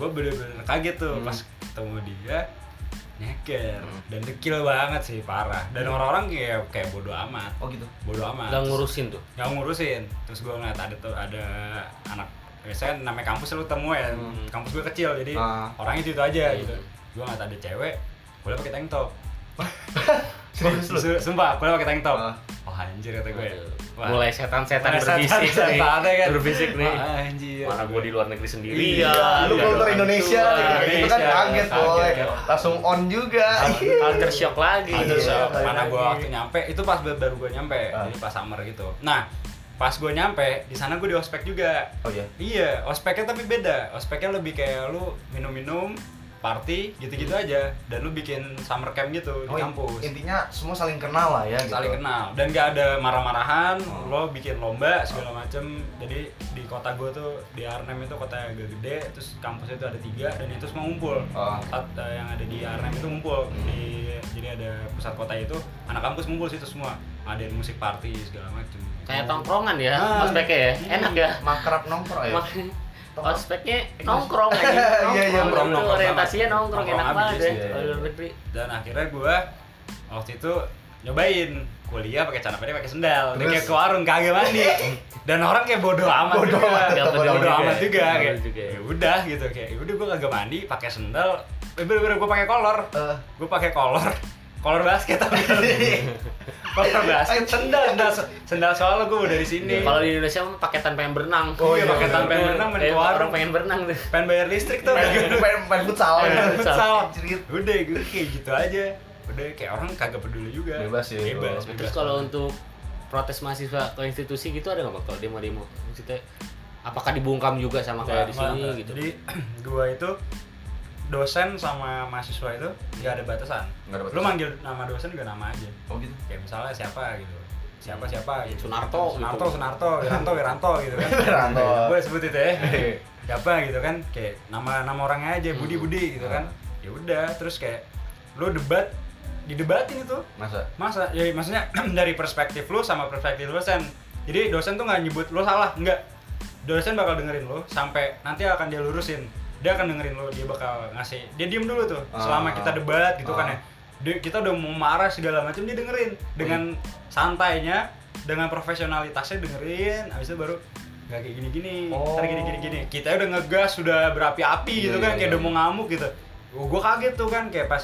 gue bener-bener kaget tuh
Hmm.
pas ketemu dia nyeker
Hmm.
dan dekil banget sih parah dan orang-orang kayak kayak bodo amat
Oh gitu.
bodo amat
Nggak ngurusin tuh.
nggak ngurusin terus gue ngeliat ada tuh ada anak biasanya kan namanya kampus lu temu ya
Hmm.
kampus gue kecil jadi
Ah. iya.
orangnya itu, aja
Hmm.
gitu gue ngeliat ada cewek boleh pakai tank top
Serius lu?
(laughs) Su- sumpah boleh pakai tank top
Ah.
oh anjir kata gue Wah.
Mulai setan-setan
Mulai
berbisik
(laughs)
nih.
setan-setannya kan.
Berbisik nih.
Ah, anjir
Mana gua di luar negeri sendiri
Iya, lu
iya,
kultur
iya.
Indonesia gitu.
Iya,
Itu kan
Indonesia,
kaget
kaget,
boy.
kan.
Langsung on juga.
Culture shock lagi.
Ada
Iya,
shock.
balik
eh, mana
lagi.
gua waktu nyampe itu pas baru, baru gua nyampe
Ah.
jadi pas summer gitu nah pas gua nyampe di sana gua di ospek juga
Oh iya.
iya ospeknya tapi beda ospeknya lebih kayak lu minum-minum party gitu-gitu aja dan lu bikin summer camp gitu
Oh,
di kampus
intinya semua saling kenal lah ya gitu.
saling kenal dan gak ada marah-marahan
Oh.
lo bikin lomba segala macem jadi di kota gue tuh di Arnhem itu kota yang agak gede terus kampusnya itu ada tiga dan itu semua ngumpul
Oh. Hmm.
Saat, eh, yang ada di Arnhem itu ngumpul di jadi ada pusat kota itu anak kampus ngumpul situ semua ada yang musik party segala macem
Kayak tongkrongan ya,
Ah.
Mas Beke ya.
Hmm.
Enak ya.
Makrab nongkrong ya.
Mak- Oh, speknya nongkrong aja. Nongkrong,
(laughs) Iya, iya,
nongkrong,
nongkrong banget.
orientasinya nongkrong,
Nongkrong
enak
abis,
banget ya.
iya, iya.
Kalau luar negeri.
dan akhirnya gua waktu itu nyobain kuliah pakai celana pendek pakai sendal dan
Terus?
kayak ke warung kagak mandi dan orang kayak bodoh amat
Bodoh
juga
amat,
Nggak
bodoh
bodoh
juga
amat
ya.
juga,
Bodoh
kayak
juga ya.
ya udah gitu kayak "Ya udah gua kagak mandi pakai sendal eh bener-bener gua pakai kolor
Eh.
gua pakai kolor kolor basket tapi kolor basket sendal sendal sendal soalnya gua mau dari sini
Iya. Kalau di Indonesia mah paketan pengen berenang.
Oh, iya, paketan pengen berenang, main
Kayak
ke warung.
Orang pengen berenang tuh.
pengen bayar listrik tuh
main main futsal
Main
futsal.
futsal.
Anjir.
(laughs) udah gue kayak gitu aja udah kayak orang kagak peduli juga
Bebas ya,
bebas,
lu.
bebas.
Terus kalau untuk protes mahasiswa ke institusi gitu ada nggak Pak, kalau demo-demo? Maksudnya apakah dibungkam juga sama kayak di sini
Malah,
gitu?
jadi (clears throat) gua itu dosen sama mahasiswa itu nggak ada batasan
Nggak ada
lu
batasan.
manggil nama dosen juga nama aja
Oh gitu.
kayak misalnya siapa gitu siapa siapa gitu
Sunarto,
Sunarto
gitu.
Sunarto Wiranto Wiranto gitu kan
Wiranto.
boleh sebut itu ya siapa gitu kan kayak nama nama orangnya aja Budi Budi gitu kan ya udah terus kayak lu debat didebatin itu
Masa?
masa ya maksudnya (clears throat) dari perspektif lu sama perspektif dosen jadi dosen tuh nggak nyebut lu salah nggak dosen bakal dengerin lu sampai nanti akan dia lurusin dia akan dengerin lu dia bakal ngasih dia diem dulu tuh
Ah.
selama kita debat gitu
Ah.
kan ya Dia- kita udah mau marah segala macam dia dengerin dengan santainya dengan profesionalitasnya dengerin habis itu baru nggak kayak gini gini
Oh.
ntar gini gini gini kita udah ngegas sudah berapi-api
Iya,
gitu kan
iya, iya.
kayak udah mau ngamuk gitu gue kaget tuh kan kayak pas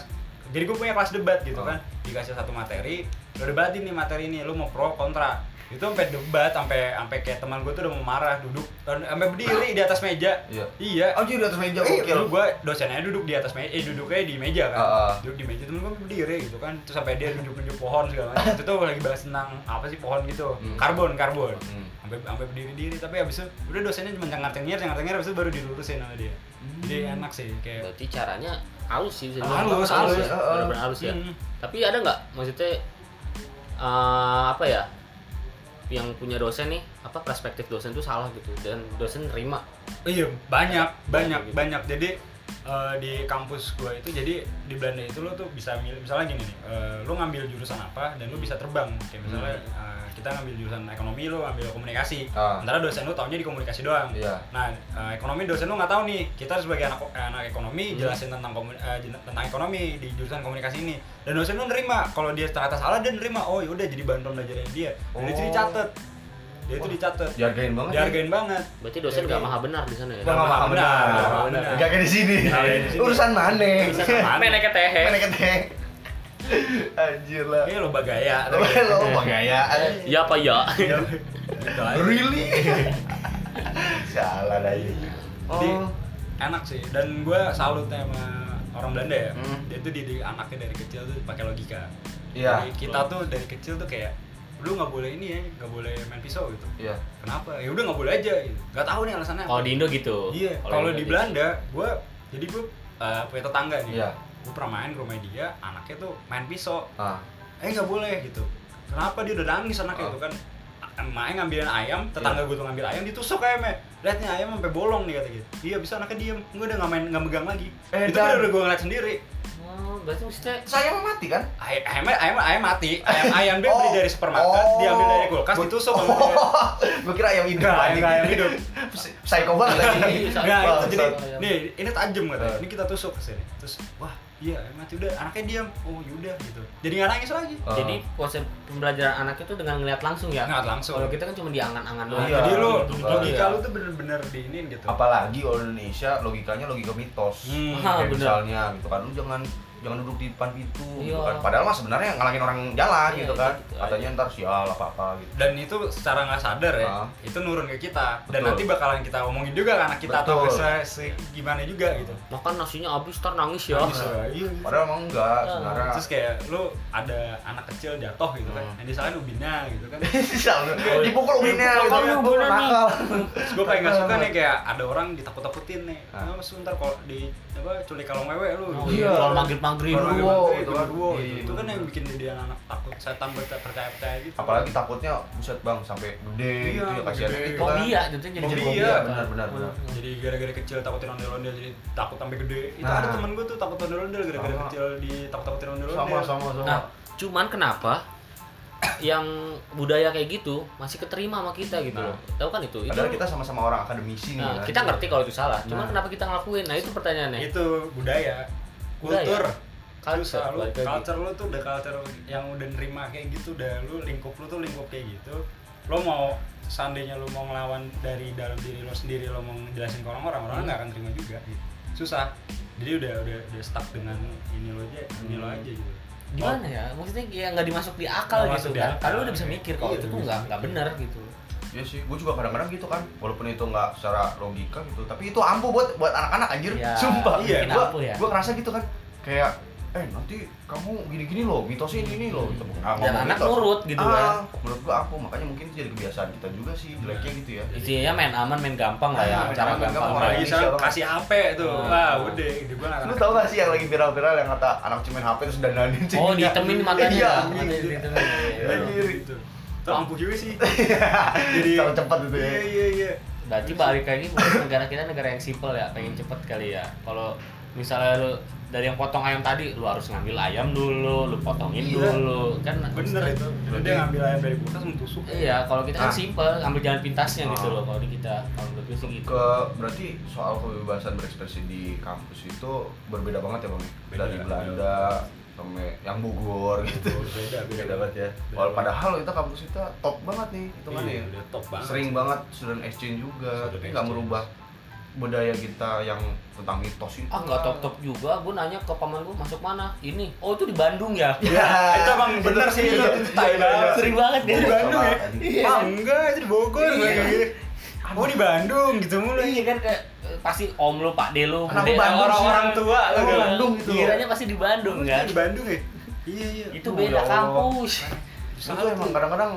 jadi gue punya kelas debat gitu
Oh.
kan dikasih satu materi lo debatin nih materi ini lo mau pro kontra itu sampai debat sampai sampai kayak teman gue tuh udah mau marah duduk sampai berdiri di atas meja
Iya. Oh,
iya
Anjir di atas meja
Eh,
gokil.
dulu gue dosennya duduk di atas meja, eh duduknya di meja kan,
Ah, ah.
duduk di meja temen gue berdiri gitu kan, terus sampai dia duduk nunjuk pohon segala macam. itu tuh lagi bahas tentang apa sih pohon gitu,
Hmm.
karbon karbon,
Hmm.
sampai sampai berdiri diri, tapi abis itu udah dosennya cuma cengar cengir cengar cengir, abis itu baru dilurusin sama dia. Jadi
Hmm.
enak sih kayak
Berarti caranya halus sih bisa
Halus,
dibilang.
halus,
ya.
eh, eh.
Bener-bener halus ya.
Hmm.
Tapi ada nggak maksudnya eh, apa ya? Yang punya dosen nih, apa perspektif dosen tuh salah gitu dan dosen terima.
Oh Iya banyak
Gitu.
banyak banyak. Jadi eh, di kampus gua itu jadi di Belanda itu lo tuh bisa milih misalnya gini nih, eh, lo ngambil jurusan apa dan lo bisa terbang. Kayak misalnya eh, kita ngambil jurusan ekonomi lo ngambil komunikasi.
Hmm. Ah.
Antara dosen lo taunya di komunikasi doang.
Iya.
Nah eh, ekonomi dosen lo nggak tahu nih. Kita sebagai anak eh, anak ekonomi
Hmm.
jelasin tentang komu- eh, jen- tentang ekonomi di jurusan komunikasi ini. Dan dosen lo nerima. Kalau dia ternyata salah dia nerima. Oh yaudah jadi bahan pembelajaran dia. Dan itu
Oh.
dicatat. Dia itu dicatat.
Dihargain banget. ya.
Dihargain banget.
Berarti dosen
Jadi-
nggak maha benar di sana ya.
Gak maha benar.
Nggak maha benar.
Gak kayak di sini.
Nggak kayak di sini.
Urusan mana?
Urusan mana?
Menek ke tehe.
Mana kete? Anjir lah.
Ini lo bagaya.
(laughs) Lo lo gaya.
Ya apa ya?
gitu aja.
Really? Salah dah ini.
Jadi
Oh.
enak sih. Dan gue salut sama orang Belanda ya.
Hmm.
Dia tuh didik anaknya dari kecil tuh pakai logika.
Iya.
Jadi kita tuh dari kecil tuh kayak lu nggak boleh ini ya, nggak boleh main pisau gitu.
Iya.
Kenapa? Ya udah nggak boleh aja. Gitu. Gak tahu nih alasannya. apa.
Oh.
Kalau di Indo gitu.
Iya. Kalau
Indo
di
gitu.
Belanda, gue jadi gue eh, punya tetangga nih.
Iya.
Gue pernah main ke rumah dia, anaknya tuh main pisau.
Ah.
eh nggak boleh gitu kenapa dia udah nangis anaknya
Oh. Iya.
itu kan emaknya ngambilin ayam tetangga gue tuh ngambil ayam ditusuk ayamnya lihat nih ayam sampai bolong nih kata gitu iya bisa anaknya diem gue udah nggak main nggak megang lagi
Eh,
itu
dan-
kan udah gue ngeliat sendiri
Oh, berarti maksudnya
Sayang mati kan?
Ay- ayamnya ayam ayam mati
(laughs)
ayam ayam dia beli
Oh.
dari supermarket diambil dari kulkas
Gua-
ditusuk sama
Oh. (laughs)
dia
Gue kira ayam hidup.
Nggak, ayam-
anjing.
nggak ayam hidup.
Psi- Psycho banget lagi.
(laughs)
Iya,
Nah, itu
Bangsat.
jadi
Ayam.
nih ini tajam katanya.
Eh.
Ini kita tusuk ke sini. Terus wah, iya ayam mati udah anaknya diam. Oh, yaudah gitu. Jadi nggak nangis lagi.
Oh.
Jadi konsep pembelajaran anak itu dengan ngeliat langsung ya.
Ngeliat langsung.
Kalau kita kan cuma diangan-angan doang.
Iya,
Jadi lu
betul banget.
logika lu tuh bener-bener diinin gitu.
apalagi orang Indonesia logikanya logika mitos
Hmm,
ah,
kayak
bener.
misalnya gitu kan lu jangan jangan duduk di depan pintu gitu
Iya.
kan padahal mah sebenarnya ngalangin orang jalan
Iya,
gitu kan
itu gitu aja.
katanya ntar sial apa apa gitu
dan itu secara nggak sadar ya
Ah.
itu nurun ke kita dan
Betul.
nanti bakalan kita omongin juga ke anak kita atau
Betul.
se- se- gimana juga gitu
Makan kan nasinya habis ntar nangis ya.
Nangis, ya. Iya, iya.
padahal emang enggak
Iya.
sebenarnya
terus kayak lu ada anak kecil jatuh gitu kan
Hmm.
yang disalahin ubinnya gitu kan
sial lu.
Iya.
dipukul ubinnya gitu
Dipukul lu,
kan.
bener nih.
Nakal.
terus gue paling nggak suka nih kayak ada orang ditakut-takutin nih
Ah.
ah. mas ntar kalau di apa culik kalong wewe lu Gitu.
Oh,
iya.
Kalau maghrib-maghrib.
Kalau
Berduo,
Berduo,
gitu,
gitu kan.
berduo,
Iya,
gitu.
iya,
itu kan
bener.
yang bikin dia anak takut setan percaya percaya gitu
apalagi takutnya buset bang sampai gede
Iya,
gitu ya kasihan
gede.
gitu kan
Fobia, jadi ya. Nah, jadi
Fobia,
fobia.
benar, benar, benar.
jadi gara-gara kecil takutin ondel-ondel jadi takut sampai gede itu
Nah.
ada temen gue tuh takut ondel-ondel gara-gara
Sama.
kecil ditakut-takutin ondel-ondel
sama sama sama
Nah, cuman nah, kenapa (coughs) yang budaya kayak gitu masih keterima sama kita gitu
Nah.
loh. Tahu kan itu? Itu
Padahal kita sama-sama orang akademisi nih.
Nah,
kan.
kita ngerti kalau itu salah. Cuman
Nah.
kenapa kita ngelakuin? Nah, itu pertanyaannya.
itu budaya
Budaya.
kultur
Culture,
Susah, lu,
balik lagi.
culture lu tuh udah culture yang udah nerima kayak gitu udah lu lingkup lu tuh lingkup kayak gitu lo mau seandainya lu mau ngelawan dari dalam diri lo sendiri lo mau ngejelasin ke orang-orang orang nggak akan terima juga gitu. susah jadi udah udah udah stuck dengan ini lo aja ini lo aja gitu
Gimana ya? Maksudnya kayak nggak dimasuk di akal gitu
Nggak masuk di
kan.
akal.
Karena lu udah bisa mikir kalau
Iya,
itu
udah
tuh
bisa
nggak nggak benar gitu.
Iya sih, gue juga kadang-kadang gitu kan, walaupun itu nggak secara logika gitu, tapi itu ampuh buat buat anak-anak anjir,
Iya,
sumpah.
bikin
gue
ampuh ya.
gue ngerasa gitu kan, kayak eh nanti kamu gini-gini loh, mitosnya ini nih loh. Gitu. Nah,
Hmm. Dan
ngomong
anak
mitos.
nurut gitu
ah,
kan. Iya.
Menurut gue ampuh, makanya mungkin itu jadi kebiasaan kita juga sih, jeleknya gitu ya.
Intinya main aman, main gampang lah ya,
Main
cara
aman, main
gampang.
gampang.
Lagi.
apalagi
Indonesia
sekarang
banget.
kasih HP tuh
Hmm.
wah udah gitu gue
Iya.
nggak
Lu tau gak sih yang lagi viral-viral yang kata anak cuman HP terus dandanin
Oh,
ceweknya?
ditemin matanya.
Iya,
matanya
gitu.
ditemin.
Iya.
anjir gitu tuh ampuh juga sih (laughs) jadi
Terlalu cepat itu ya.
iya iya iya
Berarti balik lagi mungkin negara kita negara yang simple ya, pengen cepet kali ya. Kalau misalnya lu dari yang potong ayam tadi, lu harus ngambil ayam dulu, lu potongin
Iya.
dulu, kan
bener itu Jadi dia ngambil ayam dari kulkas mentusuk
Iya, kalau kita kan
Ah.
simple, ambil jalan pintasnya gitu
Ah.
loh kalau di kita. Kalau menurut gue sih gitu.
ke berarti soal kebebasan berekspresi di kampus itu berbeda banget ya bang ya?
Beda,
dari
beda.
Belanda sampai yang Bogor (laughs) gitu
beda
beda banget ya Walau padahal kita kampus kita top banget nih itu kan ya
Iya, udah top banget
sering banget student exchange juga
Student
tapi nggak
exchange.
merubah budaya kita yang tentang mitos itu
Ah nggak top top juga, gue nanya ke paman gue masuk mana? Ini, oh itu di Bandung
(laughs)
ya?
ya
(laughs) itu emang Iya. bener sih, Iya, itu- itu tai banget.
Sering banget dia.
Iya, Di Bandung ya?
Iya.
ah enggak itu di Bogor
Iya.
kayak gitu oh di Bandung gitu mulu
Iya kan kayak eh, pasti om lu, pak de lu,
Anak
bude-
Bandung
orang-orang
sih.
tua lu
Anak
kan.
Bandung gitu.
Kiranya pasti di Bandung kan?
di Bandung ya iya iya
Itu
Oh,
beda
ya Allah.
kampus.
itu emang kadang-kadang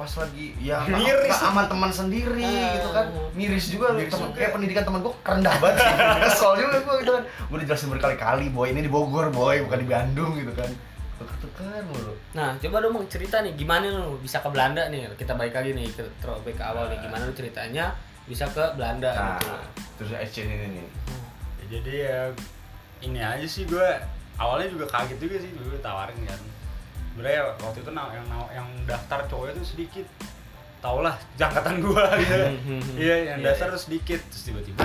pas lagi ya
Miris.
miris aman teman sendiri
Ah.
gitu kan miris juga
Miris
temen,
juga.
kayak pendidikan teman gue rendah banget
(laughs)
kesel juga gue gitu kan gue udah jelasin berkali-kali boy ini di Bogor boy bukan di Bandung gitu kan tekan mulu
Nah, coba dong Bang, cerita nih, gimana lu bisa ke Belanda nih? Kita balik lagi nih, ke throwback ke awal nih, gimana lu ceritanya bisa ke
Iya,
Belanda
nah
gitu?
terus exchange ini nih
Ya, jadi ya ini aja sih gue awalnya juga kaget juga sih dulu tawarin kan sebenarnya waktu itu na- yang na- yang daftar cowoknya tuh sedikit tau lah jangkatan gue (laughs)
(laughs)
gitu iya yang
Iya,
dasar tuh sedikit terus tiba-tiba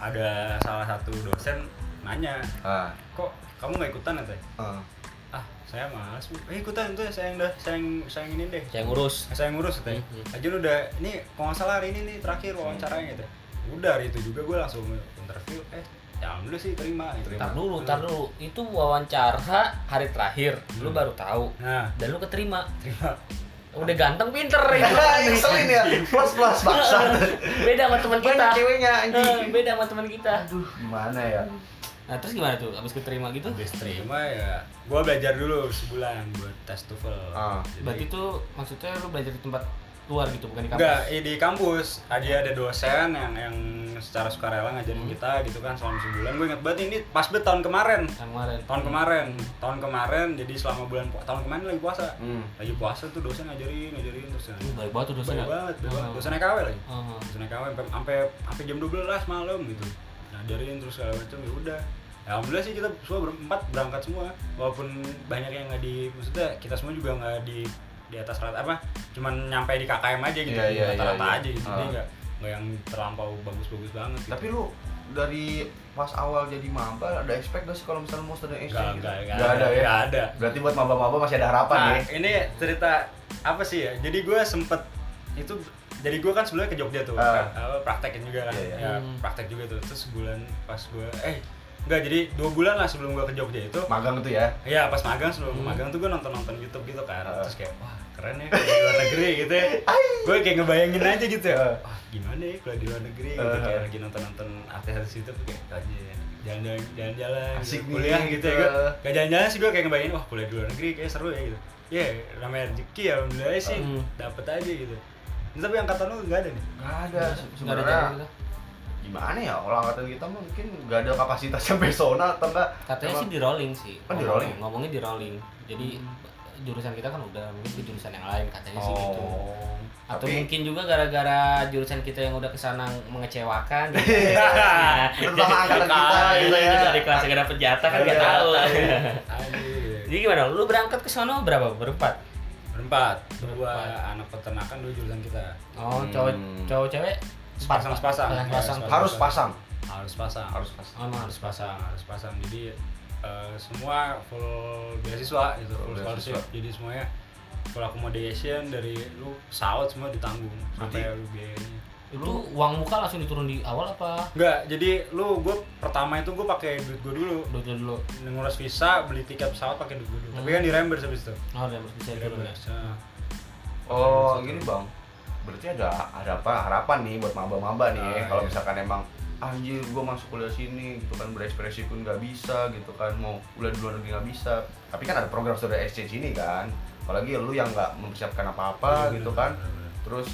ada salah satu dosen nanya
ah
kok kamu nggak ikutan ya teh
ah. (laughs)
ah saya malas Bu." eh, ikutan tuh saya yang dah saya yang saya yang ini deh
Saya ngurus.
saya ngurus teh
Hmm, hmm.
aja udah ini kalau nggak salah hari ini nih terakhir wawancaranya teh udah hari itu juga gue langsung interview eh ya alhamdulillah sih terima gitu.
Tar dulu, tar dulu. Itu wawancara hari terakhir, lu
Hmm.
baru tahu.
nah
Dan lu keterima.
terima
Udah ganteng pinter ya.
(laughs) Ya, ngeselin ya, plus plus
(laughs)
maksa.
Beda sama teman kita.
Banyak ceweknya
Eh,
anjing.
Beda sama teman kita.
Aduh, gimana ya?
Nah, terus gimana tuh? Abis keterima gitu?
habis terima ya gue belajar dulu sebulan buat tes TOEFL
Ah.
Jadi-
Berarti itu maksudnya lu belajar di tempat luar gitu, bukan di kampus.
Enggak, eh, di kampus ada ada dosen yang yang secara sukarela ngajarin
Hmm.
kita gitu kan selama sebulan. Gue inget banget ini pas bet tahun kemarin.
Yang kemarin.
Tahun kemarin, tahun kemarin jadi selama bulan pu- tahun kemarin lagi puasa.
Hmm.
Lagi puasa tuh dosen ngajarin, ngajarin terus.
Lu baik banget tuh dosen. ya.
Banyak banget, banyak banget. Dosennya KW lagi.
Heeh.
Dosennya KW sampai sampai sampai jam 12 malam gitu. Ngajarin terus segala macam ya udah. Ya, Alhamdulillah sih kita semua berempat berangkat semua walaupun banyak yang nggak di maksudnya kita semua juga nggak di di atas rata apa cuman nyampe di KKM aja gitu
Iya, iya, iya,
rata-rata
iya.
aja gitu
Ah.
jadi nggak nggak yang terlampau bagus-bagus banget gitu.
Tapi lu dari pas awal jadi maba ada expect gak sih kalau misalnya mau student
nggak
exchange? gitu?
nggak nggak
Nggak ada ya.
nggak ada
Berarti buat maba-maba masih ada harapan
nah
ya?
ini cerita apa sih ya jadi gue sempet itu jadi gue kan sebelumnya ke Jogja tuh
Ah.
pra- apa, praktekin juga kan
Iya, iya.
ya,
Hmm.
praktek juga tuh terus sebulan pas gue eh nggak jadi dua bulan lah sebelum gue ke Jogja itu
Magang tuh ya.
Iya pas magang sebelum
Hmm.
magang tuh gue nonton nonton YouTube gitu kan
Ah.
terus kayak wah keren ya kalau di luar negeri gitu ya gue kayak ngebayangin aja gitu ya wah gimana ya kalau di luar negeri gitu
Ah.
kayak lagi nonton nonton artis artis YouTube kayak aja jalan-jalan jalan-jalan gitu,
Asik nih,
kuliah gitu ya
gitu.
gue gak jalan-jalan sih gue kayak ngebayangin wah kuliah di luar negeri kayak seru ya gitu ya namanya rezeki ya alhamdulillah sih
Hmm.
dapet aja gitu Nah, tapi angkatan lu gak ada nih
Nggak ada.
Nggak ada
Se- Iya, Sebenarnya
jalan gitu.
gimana ya? Kalau angkatan kita mungkin nggak ada kapasitas yang (laughs) personal atau enggak?
Katanya sih di rolling sih.
Oh, di
Ngomongnya-
rolling? Hmm.
Ngomongnya di rolling. Jadi jurusan kita kan udah mungkin ke jurusan yang lain
Iya
katanya sih gitu.
Oh.
Atau
Tapi
mungkin juga gara-gara jurusan kita yang udah kesana
(laughs)
mengecewakan. gitu.
terutama angkatan kita gitu ya.
Dari kelas yang dapet jatah kan
Iya,
gak tahu.
Aja gitu.
Jadi gimana? Lu berangkat ke sono berapa? Berempat?
berempat dua
Berempat.
anak peternakan dua jurusan kita
Oh, cowok
Hmm. Iya,
cowok cewek
Sepasang, sepasang.
sepasang, sepasang.
Sepasang.
harus pasang
harus pasang
harus pasang
Oh, emang harus
harus
pasang.
pasang harus pasang jadi eh, semua full beasiswa gitu full
Full beasiswa.
scholarship jadi semuanya full accommodation dari lu pesawat semua ditanggung sampai
Berarti-
lu biayanya
Itu uang muka langsung diturun di awal apa?
enggak jadi lu gue pertama itu gue pakai duit gue dulu
Udah udah dulu.
ngurus visa beli tiket pesawat pakai duit gue dulu tapi
Hmm.
kan di reimburse habis itu
Oh, udah harus bisa turun
Iya.
ya.
Reimburse, nah.
oh gini bang berarti ada ada apa harapan nih buat maba-maba nih
Ah,
kalau
iya.
misalkan emang anjir gua masuk kuliah sini gitu kan berekspresi pun nggak bisa gitu kan mau kuliah di luar negeri nggak bisa tapi kan ada program saudara exchange ini kan apalagi lu yang nggak mempersiapkan apa-apa
Iya,
gitu
bener,
kan
bener, bener.
terus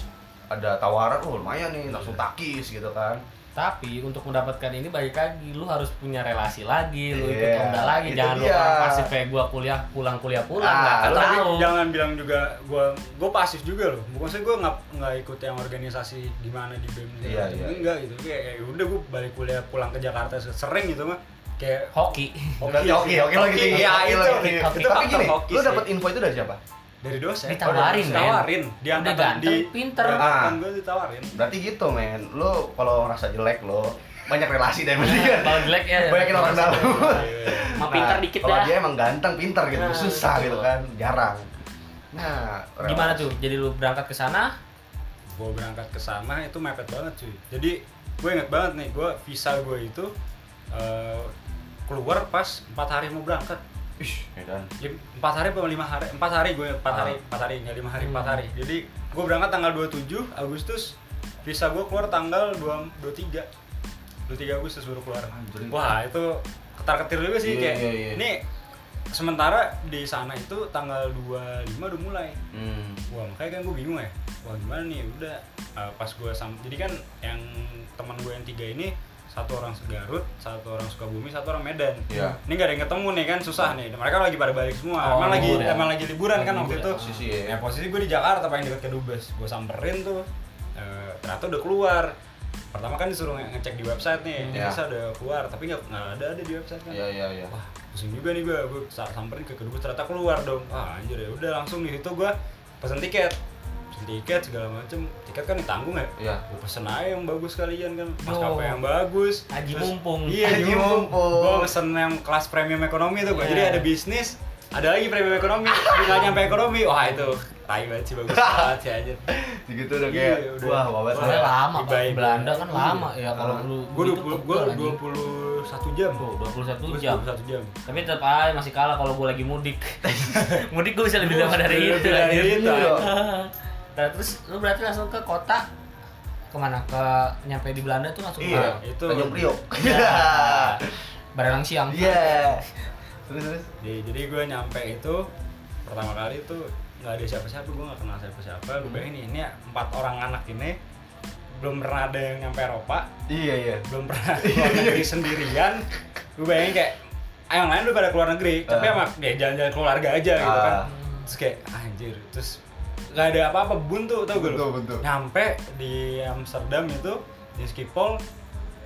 ada tawaran oh lumayan nih langsung takis gitu kan
Tapi untuk mendapatkan ini balik lagi lu harus punya relasi lagi, lu ikut
Iya,
lomba lagi,
itu
jangan lu
dia.
orang pasif kayak gua kuliah pulang kuliah pulang
Ah,
nggak
lu
akan
tapi
tahu.
jangan bilang juga gue gue pasif juga loh bukan sih gue nggak nggak ikut yang organisasi di mana di bem gitu.
Iya, iya.
enggak gitu kayak kayak udah gue balik kuliah pulang ke Jakarta sering gitu mah kayak
Hoki.
Berarti
iya,
oke, Iya, oke lagi
Hoki,
tinggi,
ya
oke
itu
lagi
itu
tinggi. Tapi
faktor
gini,
hoki
lu
sih.
dapat info itu dari siapa?
dari dosen
Ditawarin, men.
ditawarin di
Udah
angkatan di
ganteng, pinter.
di angkatan
Ah.
gue ditawarin
Berarti gitu men, lu kalau ngerasa jelek lo banyak relasi dan
Iya.
Nah,
kan
Kalau jelek ya.
banyakin orang dalam.
Mah pinter
Nah,
dikit ya.
Kalau
dah.
dia emang ganteng, pinter gitu,
Nah,
susah
betul.
gitu kan, jarang. Nah, relasi.
Gimana tuh? Jadi lu berangkat ke sana,
gue berangkat ke sana itu mepet banget cuy jadi gue inget banget nih gue visa gue itu eh, keluar pas empat hari mau berangkat
Ih, ya kan.
Lim- empat hari atau lima hari empat hari gue empat
Ah.
hari empat hari nggak lima hari
Hmm.
empat hari jadi gue berangkat tanggal 27 Agustus visa gue keluar tanggal 2, 23 23 Agustus baru keluar
Anjir.
wah itu ketar ketir juga sih
Iya,
kayak
iya, iya.
ini sementara di sana itu tanggal 25 udah mulai
Hmm.
wah makanya kan gue bingung ya wah gimana nih udah eh, pas gue sam jadi kan yang teman gue yang tiga ini satu orang Garut, satu orang Sukabumi, satu orang Medan.
Iya.
Ini gak ada yang ketemu nih kan susah nih. Mereka lagi pada balik semua.
Oh,
emang lagi
liburan.
emang lagi liburan kan
Lagi
waktu itu.
liburan.
Posisi ya.
Ya posisi gue di Jakarta paling dekat ke Dubes. Gue samperin tuh. Eh, ternyata udah keluar. Pertama kan disuruh nge- ngecek di website nih.
Iya.
Bisa udah keluar, tapi nggak nggak ada ada di website kan
Iya, iya, iya.
wah pusing juga nih gue gue samperin ke kedubes ternyata keluar dong ah anjir ya udah langsung di situ gue pesen tiket pesen tiket segala macem tiket kan ditanggung ya
Iya.
gue pesen aja yang bagus kalian kan
Yo.
maskapai yang bagus
Haji
Terus-
mumpung.
iya
Haji
haji mumpung
mumpung.
gue pesen yang kelas premium ekonomi tuh gue jadi
Iya.
ada bisnis ada lagi premium ekonomi
(laughs)
tinggal nyampe ekonomi wah itu tai banget sih bagus banget sih anjir
Gitu udah
Iya,
kayak
udah.
wah, wabah
soalnya
saya.
lama
Di
Pak.
Bayi-
Belanda kan lama ya kalau
Ah.
lu gitu
gue Iya. dua puluh
kegel lagi.
puluh satu jam
Tuh, 21
Gua
Oh, jam.
21 jam
Tapi tetap aja masih kalah kalau gue lagi
(laughs)
mudik. mudik gue bisa lebih lama dari itu.
Lebih Iya, dari
anjir.
itu, anjir.
(laughs) Nah, terus lu berarti langsung ke kota kemana ke nyampe di Belanda tuh langsung
Iya,
(laughs)
ke
itu.
itu. Tanjung Priok.
(laughs) Iya. Barelang siang.
Iya. Terus terus.
jadi, jadi gue nyampe itu pertama kali itu nggak ada siapa-siapa gue nggak kenal siapa-siapa gue bayangin ini ya, empat orang anak ini belum pernah ada yang nyampe Eropa
Iya, iya.
belum pernah keluar negeri sendirian gue bayangin kayak "Ah, yang lain udah pada keluar negeri tapi
Ah.
sama ya jalan-jalan keluarga aja gitu kan
Ah.
terus kayak anjir terus nggak ada apa-apa buntu tau gue
Buntu, buntu.
nyampe di Amsterdam itu di Schiphol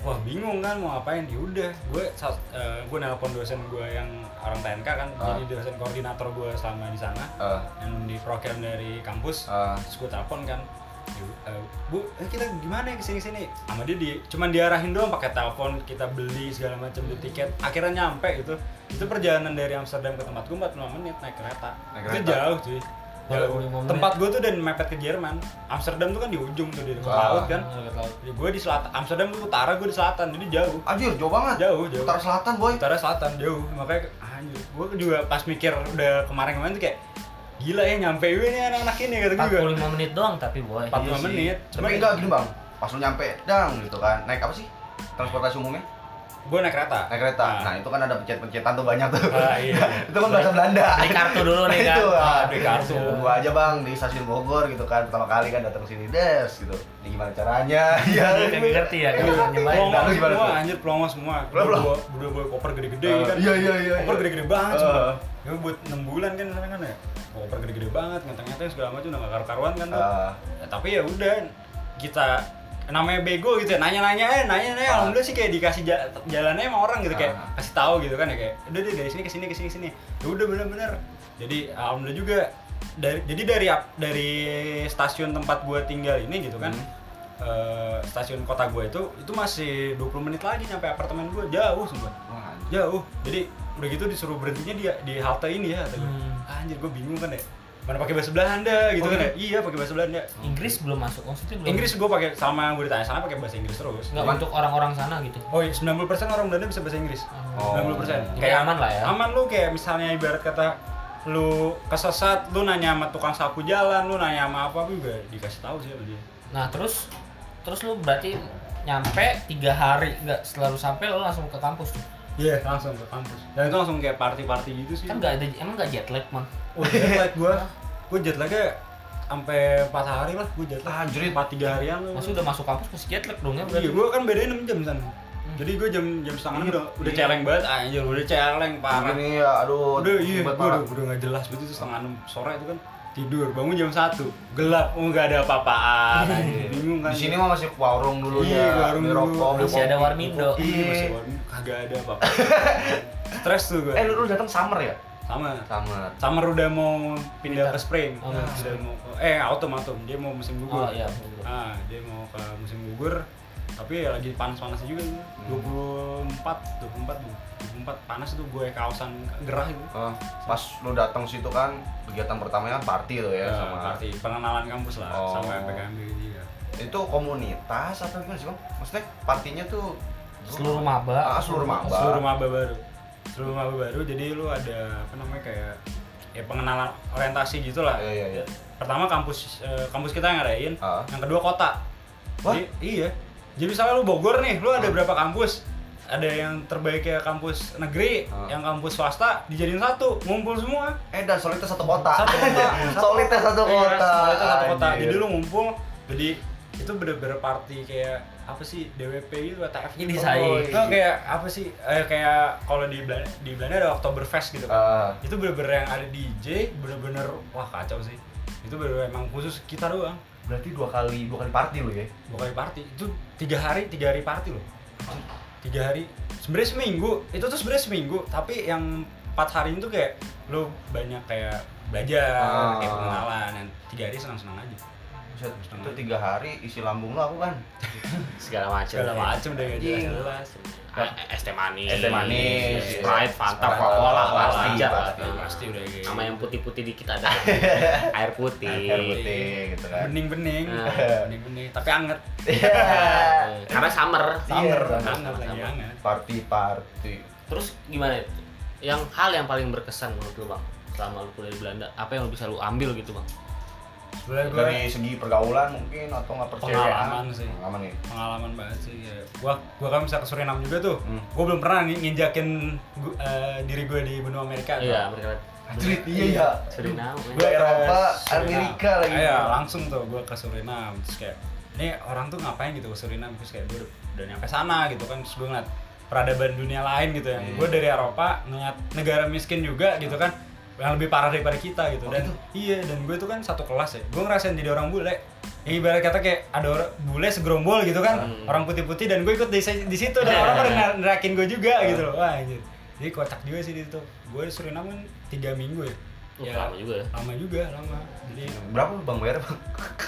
wah bingung kan mau ngapain yaudah gue saat- eh, gue nelpon dosen gue yang orang TNK kan
Ah.
jadi dosen koordinator gue selama di sana
Eh,
yang di program dari kampus
eh,
terus gue telepon kan
Iya.
"Yu- eh, bu eh, kita gimana ya kesini sini sama dia di cuman diarahin doang pakai telepon kita beli segala macam beli tiket akhirnya nyampe itu itu perjalanan dari Amsterdam ke tempat gue 45 menit naik kereta
Naik
itu
kereta.
jauh cuy Jauh.
45 menit.
tempat gue tuh udah mepet ke Jerman Amsterdam tuh kan di ujung tuh di dekat
Wah.
laut kan
Dekat laut.
gue di selatan Amsterdam tuh utara gue di selatan jadi jauh
Anjir, jauh banget.
jauh jauh
Utara selatan, boy.
utara selatan jauh makanya anjir gue juga pas mikir udah kemarin kemarin tuh kayak gila ya nyampe gue nih anak-anak ini kata gue
45 menit doang tapi boy.
45
Iya sih.
menit. Cuman-
Tapi enggak gini bang, pas lu nyampe dang gitu kan, naik apa sih? Transportasi umumnya?
gue naik kereta
Naik kereta.
Ah.
Nah itu kan ada pencet-pencetan tuh banyak tuh.
Ah, iya.
(laughs) itu kan bahasa Belanda.
Beli kartu dulu nih, kan?
(laughs) Itu, ah,
Ah, beli kartu.
Gua aja bang di stasiun Bogor gitu kan, pertama kali kan datang sini des gitu. Ini gimana caranya? Iya.
Kayak ngerti ya, kayak
Ngerti.
nyobain.
Nah,
Pelongo
lu gimana?
semua,
tuh?
anjir pelongo semua.
Pelongo.
Berdua berdua bawa koper gede-gede
Ah,
kan.
iya, iya, iya,
Koper
iya.
gede-gede banget
Ah.
semua. Ya buat 6 bulan kan sana kan ya. Koper gede-gede banget, ngenteng-ngenteng segala macam udah gak karu-karuan kan tuh.
Ah.
Ya, tapi ya udah kita namanya bego gitu ya nanya-nanya eh nanya-nanya
Ah.
alhamdulillah sih kayak dikasih ja- jalannya sama orang gitu kayak
Ah.
kasih tahu gitu kan ya kayak udah deh dari sini ke sini ke sini ke sini ya udah bener-bener jadi alhamdulillah juga dari jadi dari ap- dari stasiun tempat gua tinggal ini gitu kan
Hmm.
eh, stasiun kota gua itu itu masih 20 menit lagi nyampe apartemen gua jauh sumpah
Wah, anjing.
jauh jadi udah gitu disuruh berhentinya di di halte ini ya kata gua. anjir gua bingung kan ya mana pakai bahasa Belanda gitu
Hmm. Oh,
kan
iya?
ya iya pakai bahasa Belanda
Inggris belum masuk maksudnya belum.
Inggris gua pakai sama gua ditanya sana pakai bahasa Inggris terus
nggak
Cuman-
untuk orang-orang sana gitu.
oh iya 90% orang Belanda bisa bahasa Inggris
Oh.
Oh.
90%
Jadi aman lah ya.
Iya. aman lu kayak misalnya ibarat kata lu kesesat lu nanya sama tukang sapu jalan lu nanya sama apa juga dikasih tahu sih sama dia
Nah terus terus lu berarti nyampe tiga hari nggak setelah lu sampai lu langsung ke kampus tuh
iya langsung ke kampus dan itu langsung kayak party-party gitu sih
kan nggak ada emang nggak jet lag man
oh, jet lag gua (laughs) gua jet lagnya sampai 4 hari lah gua jet lag
Anjrit.
4 3 harian lu
maksudnya udah masuk kampus masih jet lag dong ya
iya
berarti
gua kan bedanya 6 jam sana
Hmm.
jadi gua jam jam setengah enam udah udah
Iya.
celeng banget anjir udah celeng parah
Mungkin iya, aduh.
Udah iya,
ribet
gue
parah.
udah, udah gak jelas begitu itu setengah enam sore itu kan tidur bangun jam satu gelap oh nggak ada apa-apaan (laughs) anjing. bingung kan
Di sini mah masih ke warung dulu
Iya,
ya.
warung
beli
dulu.
rokok, beli
masih ada
kopi.
warmindo
iya masih
Iya.
(laughs) warung, kagak ada apa-apa stres tuh gue
Eh, lu, lu datang summer ya?
sama
Summer.
Summer udah mau pindah ke spring
Oh,
Nah,
spring.
udah mau ke- eh autumn autumn dia mau musim
oh
gugur
iya
ah dia mau ke musim gugur tapi ya lagi panas-panasnya juga tuh. 24 24 tuh 24 panas tuh gue kausan gerah itu
Eh, pas lu datang situ kan kegiatan pertamanya kan party tuh ya
Ya,
sama
party pengenalan kampus lah
Oh.
sama PKMB juga.
itu komunitas atau gimana sih bang? Maksudnya partinya tuh
seluruh maba
Ah, seluruh maba.
Seluruh maba baru. Seluruh maba baru jadi lu ada apa namanya kayak ya pengenalan orientasi gitulah.
Iya, iya, iya.
Pertama kampus eh, kampus kita yang ngadain,
Ah.
yang kedua kota.
Wah. Ah.
Jadi, iya. Jadi misalnya lu Bogor nih, lu ada berapa kampus? Ada yang terbaik ya kampus negeri,
Ah.
yang kampus swasta dijadiin satu, ngumpul semua.
Eh dan solidnya satu kota.
Satu kota.
solidnya satu
Iya,
kota.
solidnya satu kota.
Anjir.
Jadi lu ngumpul, jadi itu bener-bener party kayak apa sih DWP gitu WTF
Ini
gitu.
saya.
Itu kayak apa sih? Eh, kayak kalau di Belanda, di Belanda ada Oktoberfest gitu kan.
Ah.
Itu bener-bener yang ada DJ, bener-bener wah kacau sih. Itu bener-bener emang khusus kita doang,
berarti dua kali dua kali party lu ya?
dua kali party. Itu tiga hari, tiga hari party loh. Tiga hari. Sebenarnya seminggu, itu tuh sebenarnya seminggu. Tapi yang empat hari itu kayak lo banyak kayak belajar,
Ah.
kayak pengenalan. Yang tiga hari senang-senang aja.
Buset, Itu tiga hari isi lambung lu aku kan.
segala macam
segala macem deh gak
Anjing.
jelas-jelas
Ah, es teh manis,
Eh, Es teh manis,
Sprite, Fanta,
Iya, Sprite,
Coca-Cola,
Coca-Cola,
pasti,
pasti,
pasti,
pasti,
pasti udah kayak
Sama yang putih-putih dikit
(laughs)
ada, air putih.
Air putih gitu kan.
bening-bening
Nah.
bening-bening tapi anget
Eh, Karena summer.
Iya,
anget
sama-sama.
lagi anget
Party party.
Terus gimana? itu? Yang hal yang paling berkesan menurut lu bang, selama lu kuliah di Belanda, apa yang lu bisa lu ambil gitu bang?
sebenernya gue
Dari segi pergaulan mungkin atau nggak percaya
Pengalaman sih.
Pengalaman ya. nih.
pengalaman banget sih ya. gua gua kan bisa ke Suriname juga tuh
Hmm.
gua belum pernah nih nginjakin gu- eh, diri gua di benua Amerika tuh.
Iya, mereka
Anjir, iya iya.
Suriname.
Gua
ke
Eropa,
Suriname.
Amerika lagi.
Iya, langsung tuh gue ke Suriname terus kayak ini orang tuh ngapain gitu ke Suriname terus kayak gue udah, udah nyampe sana gitu kan terus gue ngeliat peradaban dunia lain gitu ya.
Iya.
Gue dari Eropa ngeliat negara miskin juga gitu kan yang lebih parah daripada kita gitu
Oh,
dan
gitu?
iya dan gue tuh kan satu kelas ya gue ngerasain jadi orang bule yang ibarat kata kayak ada orang bule segerombol gitu kan
Hmm.
orang putih-putih dan gue ikut di, di situ
Iya.
dan orang pada ner- nerakin gue juga gitu loh wah anjir jadi kocak juga sih di situ gue di Suriname kan tiga minggu ya
Oh,
Ya, lama juga ya.
lama juga lama jadi
Berapa lu bang bayar bang?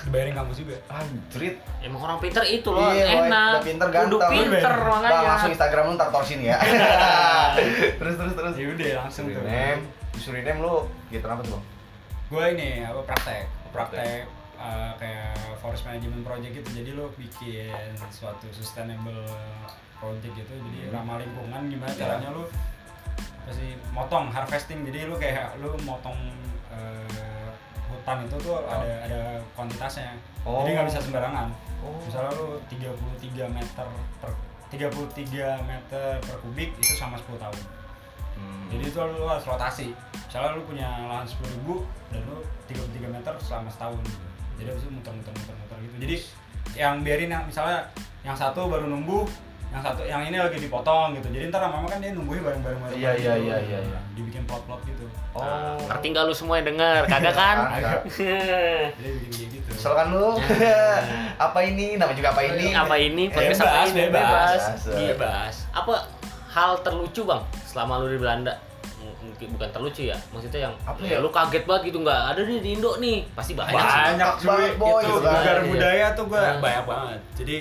dibayarin kampus juga
Anjrit.
Emang orang pinter itu loh,
Iya, woy.
enak.
Udah pinter
Duduk
ganteng.
pinter
Bang,
Bang,
makanya.
langsung Instagram lu ntar torsin
(laughs)
ya. terus terus terus.
ya udah langsung tuh
Iya, Suriname, di Suriname lu gitu apa tuh bang?
gue ini apa praktek
Praktek.
praktek eh, kayak forest management project gitu jadi lo bikin suatu sustainable project gitu jadi ramah lingkungan gimana
Hmm. Iya.
caranya lo apa sih motong harvesting jadi lo kayak lo motong eh, hutan itu tuh ada ada kuantitasnya
Oh.
jadi nggak bisa sembarangan
Oh.
misalnya lo 33 meter per 33 meter per kubik itu sama 10 tahun
Hmm.
Jadi itu lu harus rotasi. Misalnya lu punya lahan 10.000 dan lu 33 meter selama setahun. Jadi habis itu muter-muter-muter-muter gitu. Jadi yang biarin yang misalnya yang satu baru numbuh, yang satu yang ini lagi dipotong gitu. Jadi ntar lama-lama kan dia numbuhin bareng-bareng bareng.
Iya, iya, iya, iya, iya.
Dibikin plot-plot gitu.
Nah,
Oh.
ngerti nggak lu semua yang denger, kagak kan?
Iya, Kagak.
(laughs)
Jadi bikin kayak gitu.
Misalkan kan lu (laughs) apa ini namanya juga apa ini?
Apa ini? Podcast apa
bebas,
ini?
bebas,
Bebas.
bebas.
Apa hal terlucu bang selama lu di Belanda? M- mungkin bukan terlucu ya maksudnya yang
Apa
ya,
ya?
lu kaget banget gitu nggak ada nih di Indo nih pasti banyak, sih.
banyak
Banyak
cuy
banget, boy.
itu
Banyak,
lugar
iya.
budaya tuh gue
Banyak.
banyak banget jadi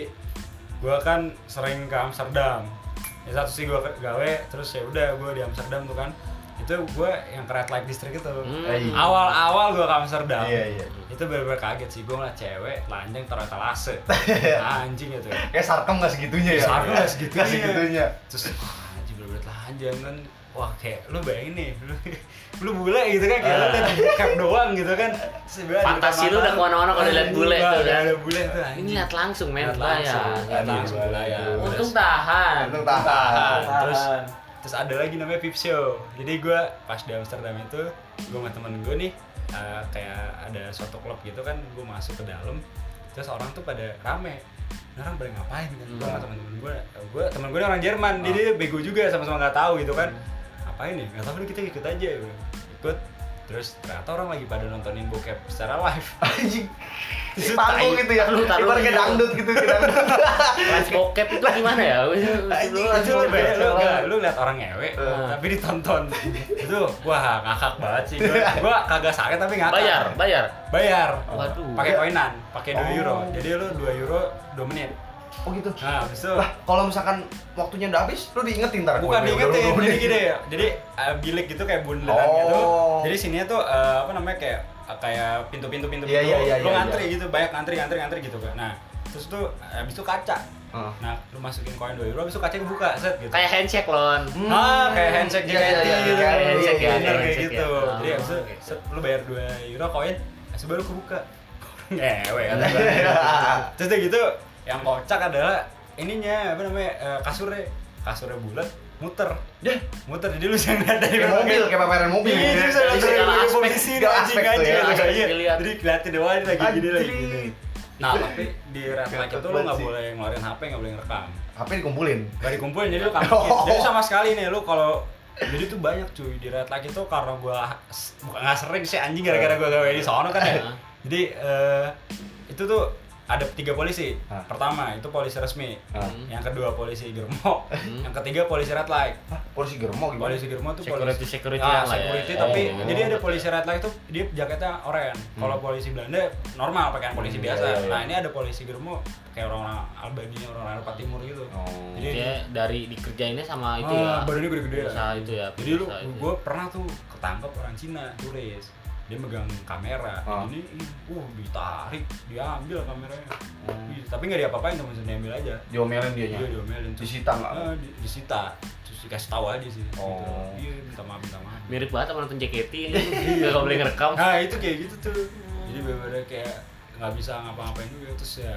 gue kan sering ke Amsterdam ya satu sih gue gawe terus ya udah gue di Amsterdam tuh kan itu gue yang ke Red Light District itu
Hmm.
iya. awal-awal gue ke Amsterdam
Iya, iya.
itu bener-bener kaget sih gue ngeliat cewek telanjang taruh (laughs) etalase anjing itu ya.
Kayak sarkem gak segitunya ya.
Sarkem nggak segitunya.
Nggak segitunya.
terus wah anjing bener-bener telanjang kan wah kayak lu bayangin nih lu, (laughs) lu bule gitu kan kayak lu liat cap doang gitu kan Sebenernya
Ah. Fantasi lu udah kemana-mana kalau liat bule tuh, kan?
Iya, ada bule tuh anjing.
ini lihat langsung men ya,
Liat
langsung
liat
Anjing,
langsung ya.
gua
layar.
liat.
untung
Terus-
tahan
Untung
tahan.
tahan.
Terus terus ada lagi namanya Pip Show. Jadi gue pas di Amsterdam itu gue sama temen gue nih eh, kayak ada suatu klub gitu kan gue masuk ke dalam terus orang tuh pada rame Ini orang pada ngapain kan gue
Hmm.
sama temen gue gue temen gue orang Jerman
Ah.
jadi dia bego juga sama-sama nggak tahu gitu kan
Hmm.
apain nih nggak tahu udah kita ikut aja ya. ikut terus ternyata orang lagi pada nontonin bokep secara live
Anjing. Di panggung gitu ya.
Taruh, taruh.
Ibarat kayak dangdut gitu, kayak dangdut.
live bokep itu gimana ya
Anjing,
itu lu bayar lu enggak, lu liat orang ngewe
Eh.
tapi ditonton itu wah ngakak banget sih
(laughs)
gua, gua kagak sakit tapi ngakak
bayar bayar
bayar
Waduh.
pakai koinan pakai 2 euro
Oh.
jadi lu 2 euro 2 menit
Oh gitu.
nah habis itu
Lah, kalau misalkan waktunya udah habis, lu diingetin ntar. Udah, udah,
bukan diingetin
udah, udah.
jadi gini ya jadi eh, bilik gitu kayak bundaran
Oh.
gitu jadi sininya tuh eh, apa namanya kayak kayak pintu-pintu pintu
Iya, iya, iya,
lu
iya,
ngantri
iya.
gitu banyak ngantri ngantri ngantri gitu kan nah terus tuh habis itu kaca
Heeh.
nah lu masukin koin 2 euro habis itu kacanya kebuka set gitu
kayak handshake lon
(laughs) Hmm.
Ah, kayak handshake
Iya,
JKT
iya, iya,
gitu.
kayak handshake ya,
Bener,
kayak
kayak
handshake
gitu.
ya.
Jadi
Ah,
abis itu,
gitu.
set, lu bayar 2 euro koin, abis itu baru kebuka. (laughs) Ngewe kata gua. Terus udah gitu, yang kocak adalah ininya apa namanya? eh, kasurnya. Kasurnya bulat, muter. Dah, muter jadi lu jangan lihat dari
Kayak mobil, kayak pameran mobil. iya,
Iya, jadi saya lihat
Jadi
dari
segala
berbagai
aspek,
posisi
segala
anjing,
aspek tuh
anjing,
ya,
anjing,
aspek
iya.
dilihat.
Jadi keliatin doang ini lagi gini lagi gini.
Anjing.
Nah, tapi di red light itu lu nggak
Banget sih.
boleh ngeluarin HP, nggak boleh ngerekam.
HP dikumpulin.
Gak dikumpulin jadi lu
(laughs)
kampikin.
Oh.
Jadi sama sekali nih lu kalau jadi tuh banyak cuy di red light itu karena gua s- bukan nggak sering sih anjing gara-gara gua gawe di sono kan ya.
Hah.
Jadi eh, itu tuh ada tiga polisi.
Hah.
Pertama itu polisi resmi.
Hah.
Yang kedua polisi germo. Yang ketiga polisi red light.
Hah, polisi gitu. germo gimana?
Polisi germo tuh
Security-
polisi
security lah
Ah,
ya.
security,
Oh,
tapi
iya.
jadi ada polisi red light tuh dia jaketnya oranye. Kalau polisi Belanda normal pakaian polisi
Hmm,
biasa.
iya, iya.
Nah, ini ada polisi germo kayak orang-orang Albania, orang-orang Eropa Timur gitu.
Oh.
Jadi
dia dari dikerjainnya sama itu
iya. Ah,
ya
badannya gede-gede ya.
Usaha itu ya
Jadi lu,
usaha itu ya.
gue pernah tuh ketangkep orang Cina turis. Dia megang kamera,
Ah.
ini, ih, uh, ditarik, diambil kameranya.
Hmm.
Ih, tapi nggak diapa-apain cuma maksudnya diambil aja.
Diomelin dia
Dia diomelin. Terus-
Iya, Disita nggak?
Ah, di- disita. Terus dikasih tahu aja sih. gitu.
Oh.
Iya, minta maaf, minta maaf.
mirip banget sama nonton JKT nggak boleh ngerekam
Nah itu kayak gitu tuh. Jadi bener-bener kayak nggak bisa ngapa-ngapain juga terus ya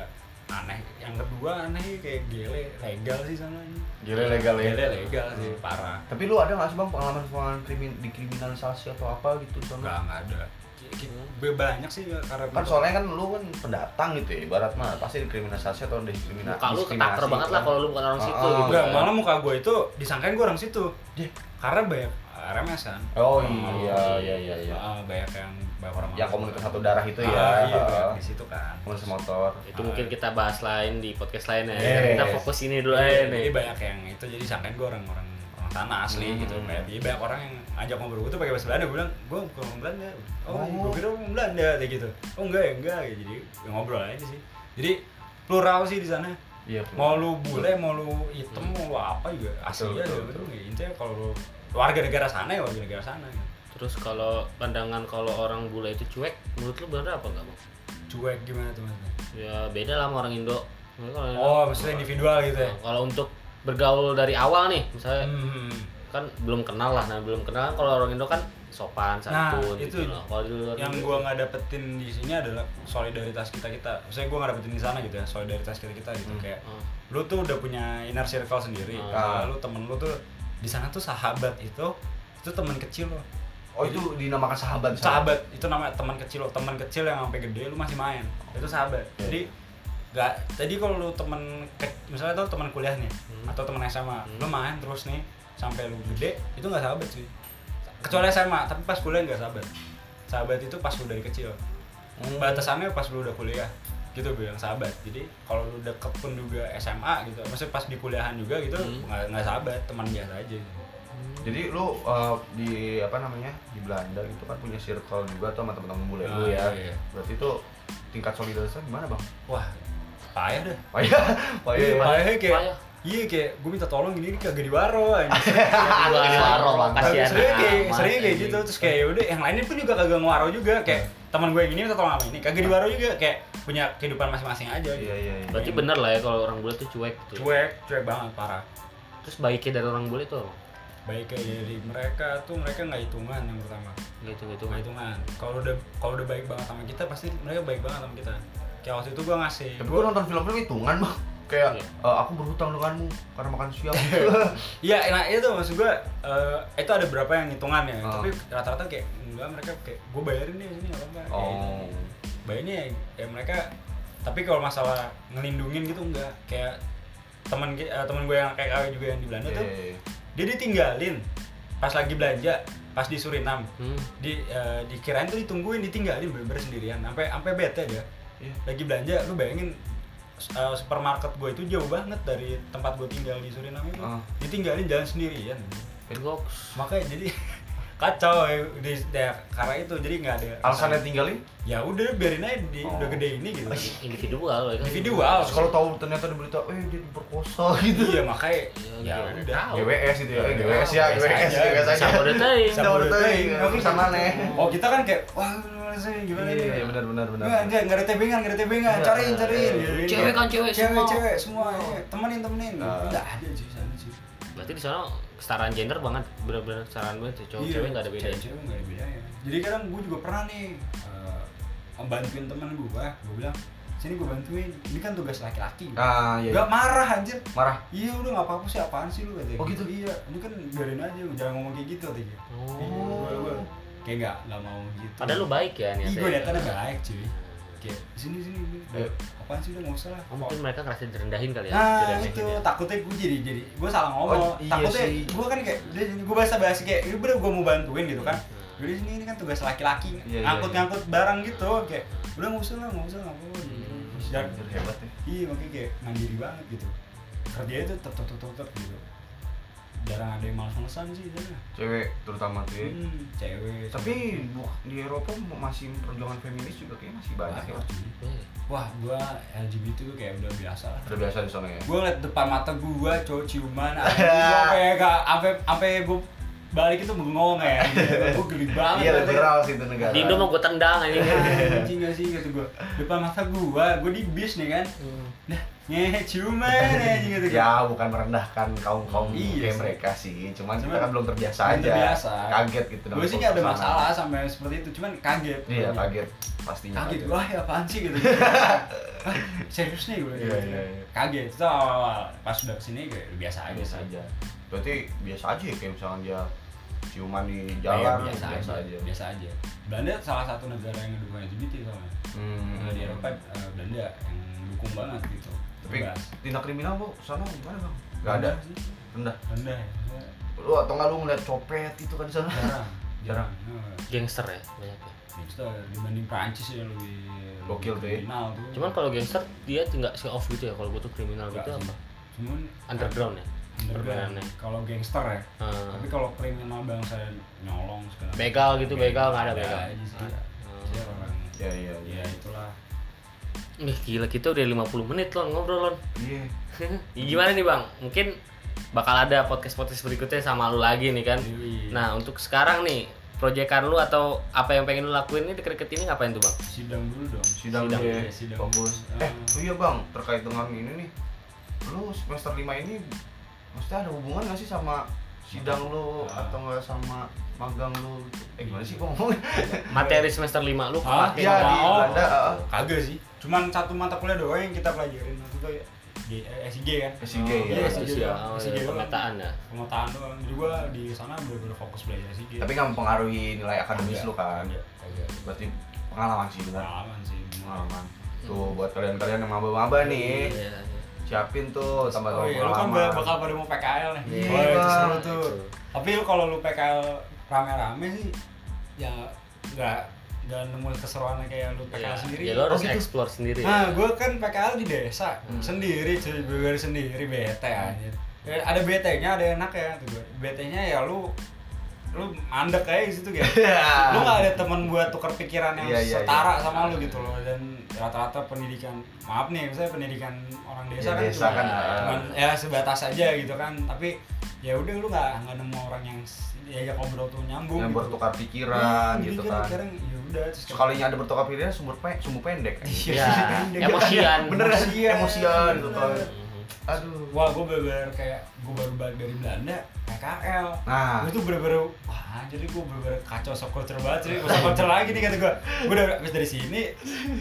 aneh. Yang kedua aneh kayak gele legal sih sama ini.
Gile legal ya.
Gele Iya, legal sih parah.
Tapi lu ada nggak sih bang pengalaman pengalaman krimin dikriminalisasi atau apa gitu
Enggak,
soalnya?
enggak ada. Ki- ki- be- Banyak sih karena
Kan soalnya kan lu kan pendatang gitu ya, ibarat mah pasti dikriminalisasi atau diskriminasi.
muka lu ketakar banget lah kalau lu bukan orang
Ah,
situ
ah,
gitu
enggak, malah muka gue itu disangkain gue orang situ.
Deh.
Karena banyak eh, remesan.
Iya. Oh
Orang-
iya iya iya iya.
Ah, banyak yang banyak orang
Yang Ya, komunitas satu darah itu
Ah,
ya.
Iya, banyak di situ kan.
Komunitas motor.
itu mungkin kita bahas lain di podcast lain ya
Yes.
kita fokus ini dulu aja
Jadi
Iya,
nih
banyak yang itu jadi disangkain gue orang-orang orang tanah asli
Hmm.
gitu kayak jadi banyak orang yang ajak ngobrol gue tuh pakai bahasa Belanda gue bilang gue bukan orang Belanda oh,
Oh.
gue kira orang Belanda kayak gitu oh enggak ya enggak ya, jadi ya ngobrol aja sih jadi plural sih di sana
Iya.
mau lu bule mau lu hitam mau lu apa juga asli
Betul,
aja
betul,
gitu
betul.
Ya, intinya kalau lu warga negara sana ya warga negara sana gitu.
terus kalau pandangan kalau orang bule itu cuek menurut lu bener apa enggak bang
cuek gimana tuh maksudnya
ya beda lah sama orang Indo Mungkin kalau orang
oh
Indo-
maksudnya individual gitu ya
Nah, kalau untuk bergaul dari awal nih misalnya
hmm.
kan belum kenal lah nah belum kenal kan kalau orang Indo kan sopan
nah
santun
itu
gitu loh kalau di luar
yang
negeri-
gua nggak dapetin di sini adalah solidaritas kita kita maksudnya gua nggak dapetin di sana gitu ya solidaritas kita kita gitu kayak
Ah.
lu tuh udah punya inner circle sendiri
Hmm. Ah.
lalu temen lu tuh di sana tuh sahabat itu itu teman kecil lo
Oh itu dinamakan sahabat.
sahabat itu namanya teman kecil lo teman kecil yang sampai gede lu masih main itu sahabat jadi nggak tadi kalau lu teman ke- misalnya tuh teman kuliah nih atau teman SMA lu main terus nih sampai lu gede itu nggak sahabat sih kecuali SMA tapi pas kuliah nggak sahabat sahabat itu pas lu dari kecil batasannya pas lu udah kuliah gitu bilang sahabat jadi kalau lu deket pun juga SMA gitu maksudnya pas di kuliahan juga gitu nggak nggak sahabat teman biasa aja gitu.
Jadi lu uh, di apa namanya di Belanda gitu kan punya circle juga tuh sama teman-teman bule lu
Ah,
ya.
iya.
Berarti tuh tingkat solidaritasnya gimana bang? (laughs)
Wah, payah dah.
Wah ya, wah
Iya,
ya.
payah kayak
Payah.
Iya kayak gue minta tolong gini kagak diwaro anjing.
Wah,
Waro,
waro,
Bang.
kasihan
Sebenernya kayak,
amat,
sebenernya kayak
anjing.
gitu Terus kayak yaudah yang lainnya pun juga kagak ngewaro juga Kayak teman gue yang ini minta tolong sama ini Kagak diwaro juga kayak punya kehidupan masing-masing aja gitu
Iya iya. iya.
Berarti bener lah ya kalau orang bule tuh cuek gitu.
Cuek, cuek banget parah
Terus baiknya dari orang bule tuh apa?
Baiknya dari mereka tuh mereka nggak hitungan yang pertama
gitu gitu.
Nggak hitungan Kalau udah kalau udah baik banget sama kita pasti mereka baik banget sama kita Kayak waktu itu gue ngasih
Tapi gua nonton film-film hitungan bang. Kayak
Iya.
uh, aku berhutang denganmu karena makan
(laughs)
siang.
Iya, nah itu maksud gue Itu ada berapa yang hitungan ya
Ah.
Tapi rata-rata kayak enggak mereka kayak gue bayarin deh sini apa enggak kayak gitu.
oh.
Bayarnya ya, ya mereka tapi kalau masalah ngelindungin gitu enggak kayak teman ki- eh, teman gue yang kayak Awe juga yang di Belanda
Iya,
tuh
iya, iya.
dia ditinggalin pas lagi belanja pas di Suriname
Hmm.
di eh, dikirain tuh ditungguin ditinggalin bener-bener sendirian sampai sampai bete dia
Iya.
lagi belanja lu bayangin eh, supermarket gue itu jauh banget dari tempat gue tinggal di Suriname itu
Ah.
ditinggalin jalan sendirian
Goks.
makanya jadi (laughs) kacau ya, di, daer- karena itu jadi nggak ada
Alasannya tinggalin?
ya udah biarin aja di,
Oh. Iya,
udah gede ini gitu
Individual ya kan.
individual
Terus kalau tahu ternyata di berita, eh dia diperkosa (laughs) gitu.
iya makanya
Iya,
ya,
iya.
udah
Tahu.
GWS itu ya,
Iya,
GWS ya,
GWS
GWS,
aja.
GWS aja.
Sama udah teuing.
Sama udah teuing,
Tapi
bisa mana?
oh kita kan kayak wah gimana sih, gimana ini
Iya, benar benar benar.
Nggak, nggak, nggak ada tebengan, nggak ada tebengan.
Iya.
Cariin, cariin.
Cewek kan cewek
cewek,
semua.
cewek semua. iya. Temenin, temenin.
Nah.
Nggak ada sih sana sih.
Berarti di sana kesetaraan gender banget, bener-bener kesetaraan banget. sih. Cowok
Iya,
cewek nggak ada bedanya.
Cewek nggak ada bedanya. Jadi kadang gue juga pernah nih eh, membantuin temen gue, gue bilang sini gue bantuin. Ini kan tugas laki-laki.
Ah, iya.
Gak marah anjir.
Marah.
Iya udah nggak apa-apa sih apaan sih lu katanya.
Oh, gitu?
Iya. Ini kan biarin aja jangan ngomong kayak gitu katanya.
Oh.
Iya, gua- gua kayak nggak nggak mau gitu.
Padahal lu baik ya
Iya
niatnya.
gue niatnya baik cuy. Kayak sini sini sini.
Ayo.
Apaan sih udah nggak usah lah.
Oh, mungkin mereka ngerasa direndahin kali ya.
Nah
diremehin
itu
ya.
takutnya gue jadi jadi gue salah ngomong.
Oh, iya
takutnya
sih.
gue kan kayak dia jadi gue bahasa bahasa kayak ini bener gue mau bantuin gitu kan. Jadi sini ini kan tugas laki-laki
Hmm. Iya, Hmm. iya,
ngangkut-ngangkut barang gitu kayak udah nggak usah lah nggak usah nggak apa-apa. Dan
Anjir, hebat ya.
iya makanya kayak mandiri banget gitu. Kerjanya tuh tetep tetep tetep gitu. Jarang ada yang males-malesan sih sana.
Cewek terutama tuh. ya.
Hmm, cewek.
Tapi bu- di Eropa masih perjuangan feminis juga kayaknya masih banyak ya.
Iya.
gitu. Wah, gua LGBT tuh kayak udah biasa lah.
Udah biasa di sana ya.
Gua ngeliat depan mata gua cowok ciuman,
(laughs)
anjing, gua kayak gak ampe ampe gua balik itu bengong
(laughs)
ya. Gua geli banget.
Iya,
anjing.
liberal sih itu negara.
Di Indo mah gue tendang aja.
Anjing gak sih gitu gua. Depan mata gua, gua di bis nih kan. Nah, ngehe ciuman anjing gitu gua.
Ya, bukan merendahkan kaum-kaum
Iya
kayak
sih.
mereka sih. Cuman kita
Cuman
kan belum terbiasa
belum
aja.
terbiasa.
Kaget gitu.
Gua sih gak ada masalah sampai seperti itu, cuman kaget.
Iya, kaget pastinya.
kaget
kaget.
wah ya apaan sih
(laughs)
gitu Hah, serius nih gue
Iya, iya, iya.
kaget itu awal-awal pas udah kesini gue biasa aja
biasa
sih
aja berarti biasa aja ya kayak misalnya dia ciuman di
Iya,
jalan gitu,
biasa, aja. biasa aja Belanda salah satu negara yang ngedukung LGBT soalnya
Hmm.
Kalau di Eropa eh, Belanda yang dukung banget gitu
tapi
Bebas.
tindak kriminal bu sana gimana bang nggak ada
sih.
rendah
Belanda ya
lu atau nggak lu ngeliat copet itu kan di sana (laughs)
jarang jarang
Gangster ya banyak ya.
Gangster dibanding Prancis ya lebih
Gokil tuh ya.
kriminal tuh
Cuman kalau gangster dia nggak show off gitu ya. Kalau gue tuh kriminal
Nggak
gitu
sih.
apa?
cuman
Underground ya.
underground
permainannya.
kalau gangster ya
Hmm.
tapi kalau kriminal bangsa nyolong segala
Begal gitu, begal, nggak ada begal.
aja sih.
Nggak ada.
Dia orang
iya iya
ya itulah
Nih gila kita udah 50 menit loh ngobrol loh.
iya
Ya, (laughs) gimana nih bang? Mungkin bakal ada podcast-podcast berikutnya sama lu lagi nih kan.
Yoi.
Nah untuk sekarang nih proyekan lu atau apa yang pengen lu lakuin ini deket-deket ini ngapain tuh bang?
sidang dulu dong
sidang,
Sidang,
dulu ya
iya, sidang.
fokus
Ah.
eh oh iya bang terkait dengan ini nih lu semester lima ini maksudnya ada hubungan nggak sih sama sidang lu
Ah. Iya.
atau nggak sama magang lu eh gimana sih gua ngomong
Materi semester 5 lu
Hah?
pakai
eh, iya di
Oh.
Belanda ah.
kagak sih cuman satu mata kuliah doang yang kita pelajarin waktu itu ya di eh, SIG kan
SIG,
Oh,
iya,
iya
SIG,
SIG
oh,
doang
iya,
doang.
pemetaan ya.
pemetaan doang jadi gua di sana bener-bener fokus belajar SIG
tapi nggak mempengaruhi nilai akademis
Kagak,
lu kan
kagak, kagak.
berarti pengalaman sih benar
Iya. pengalaman sih bener.
pengalaman tuh buat kalian-kalian yang maba-maba nih
Iya, iya.
siapin tuh tambah
Oh
tambah
iya, lu kan ba- bakal pada mau PKL nih.
Iya,
Wah, itu
Bang.
seru tuh. Tapi lu kalau lu PKL rame-rame sih ya nggak nggak nemu keseruannya kayak lu PKL
Iya.
sendiri.
Ya lo harus
Oh, gitu.
explore sendiri.
Hmm.
Nah, gue kan PKL di desa sendiri, cuy, gue sendiri bete anjir. Ya, ada bete-nya, ada enaknya tuh gue. Bete-nya ya lu lu mandek kayak di
(laughs)
situ gitu. lu gak ada teman buat tukar pikiran yang
Ya. Iya, iya, iya.
setara sama lu gitu loh dan rata-rata pendidikan maaf nih misalnya pendidikan orang
Ya,
desa kan
desa
cuma-
kan,
cuman,
ah.
ya sebatas aja gitu kan tapi ya udah lu gak nggak nemu orang yang s- diajak ngobrol tuh nyambung
yang
gitu.
bertukar pikiran gitu kan
sekarang ya udah terus kayak-
sekalinya ada bertukar pikiran sumber pe sumber pendek
Iya. kan? Iya.
Ya, emosian.
bener gak sih
Emosian.
emosian gitu kan
Mhm.
aduh
wah gue bener kayak gue baru balik dari Belanda PKL
nah
gue tuh bener-bener wah jadi gue bener-bener kacau soft culture banget sih soft culture lagi nih kata gue gue udah habis dari sini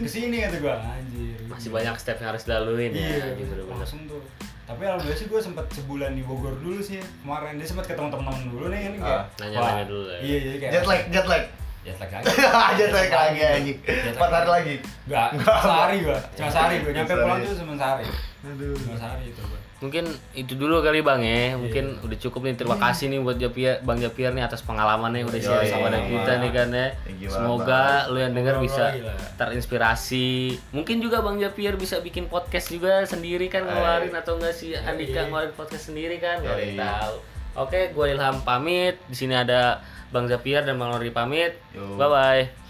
ke sini kata gue anjir
Masih banyak step yang harus dilaluin ya.
iya
Gitu bener.
langsung tuh tapi alhamdulillah sih gue sempet sebulan di Bogor dulu sih ya. kemarin dia sempet ketemu temen-temen dulu nih kan kayak
Ah,
nanya-nanya dulu ya.
ya iya jadi kayak
jet lag jet lag (laughs)
jet lag lagi
jet lag lagi anjing
Jet lag.
empat hari lagi
Enggak, sehari gue cuma sehari gue nyampe
Sehari.
pulang tuh cuma sehari
aduh
cuma sehari itu gue
Mungkin itu dulu kali Bang ya. Mungkin udah cukup nih. Terima kasih nih buat Japia, Bang Japier nih atas pengalamannya udah
Yoi,
share sama
sama.
kita nih kan ya.
Ya, gimana,
Semoga lu yang denger
Ngobrol
bisa
lagi lah.
terinspirasi. Mungkin juga Bang Japier bisa bikin podcast juga sendiri kan
Yoi.
ngeluarin atau enggak sih Andika
Yoi.
ngeluarin podcast sendiri kan? Gak ada yang
Yoi.
tahu. Oke, gue Ilham pamit. Di sini ada Bang Japier dan Bang Lori pamit.
Yo.
Bye bye.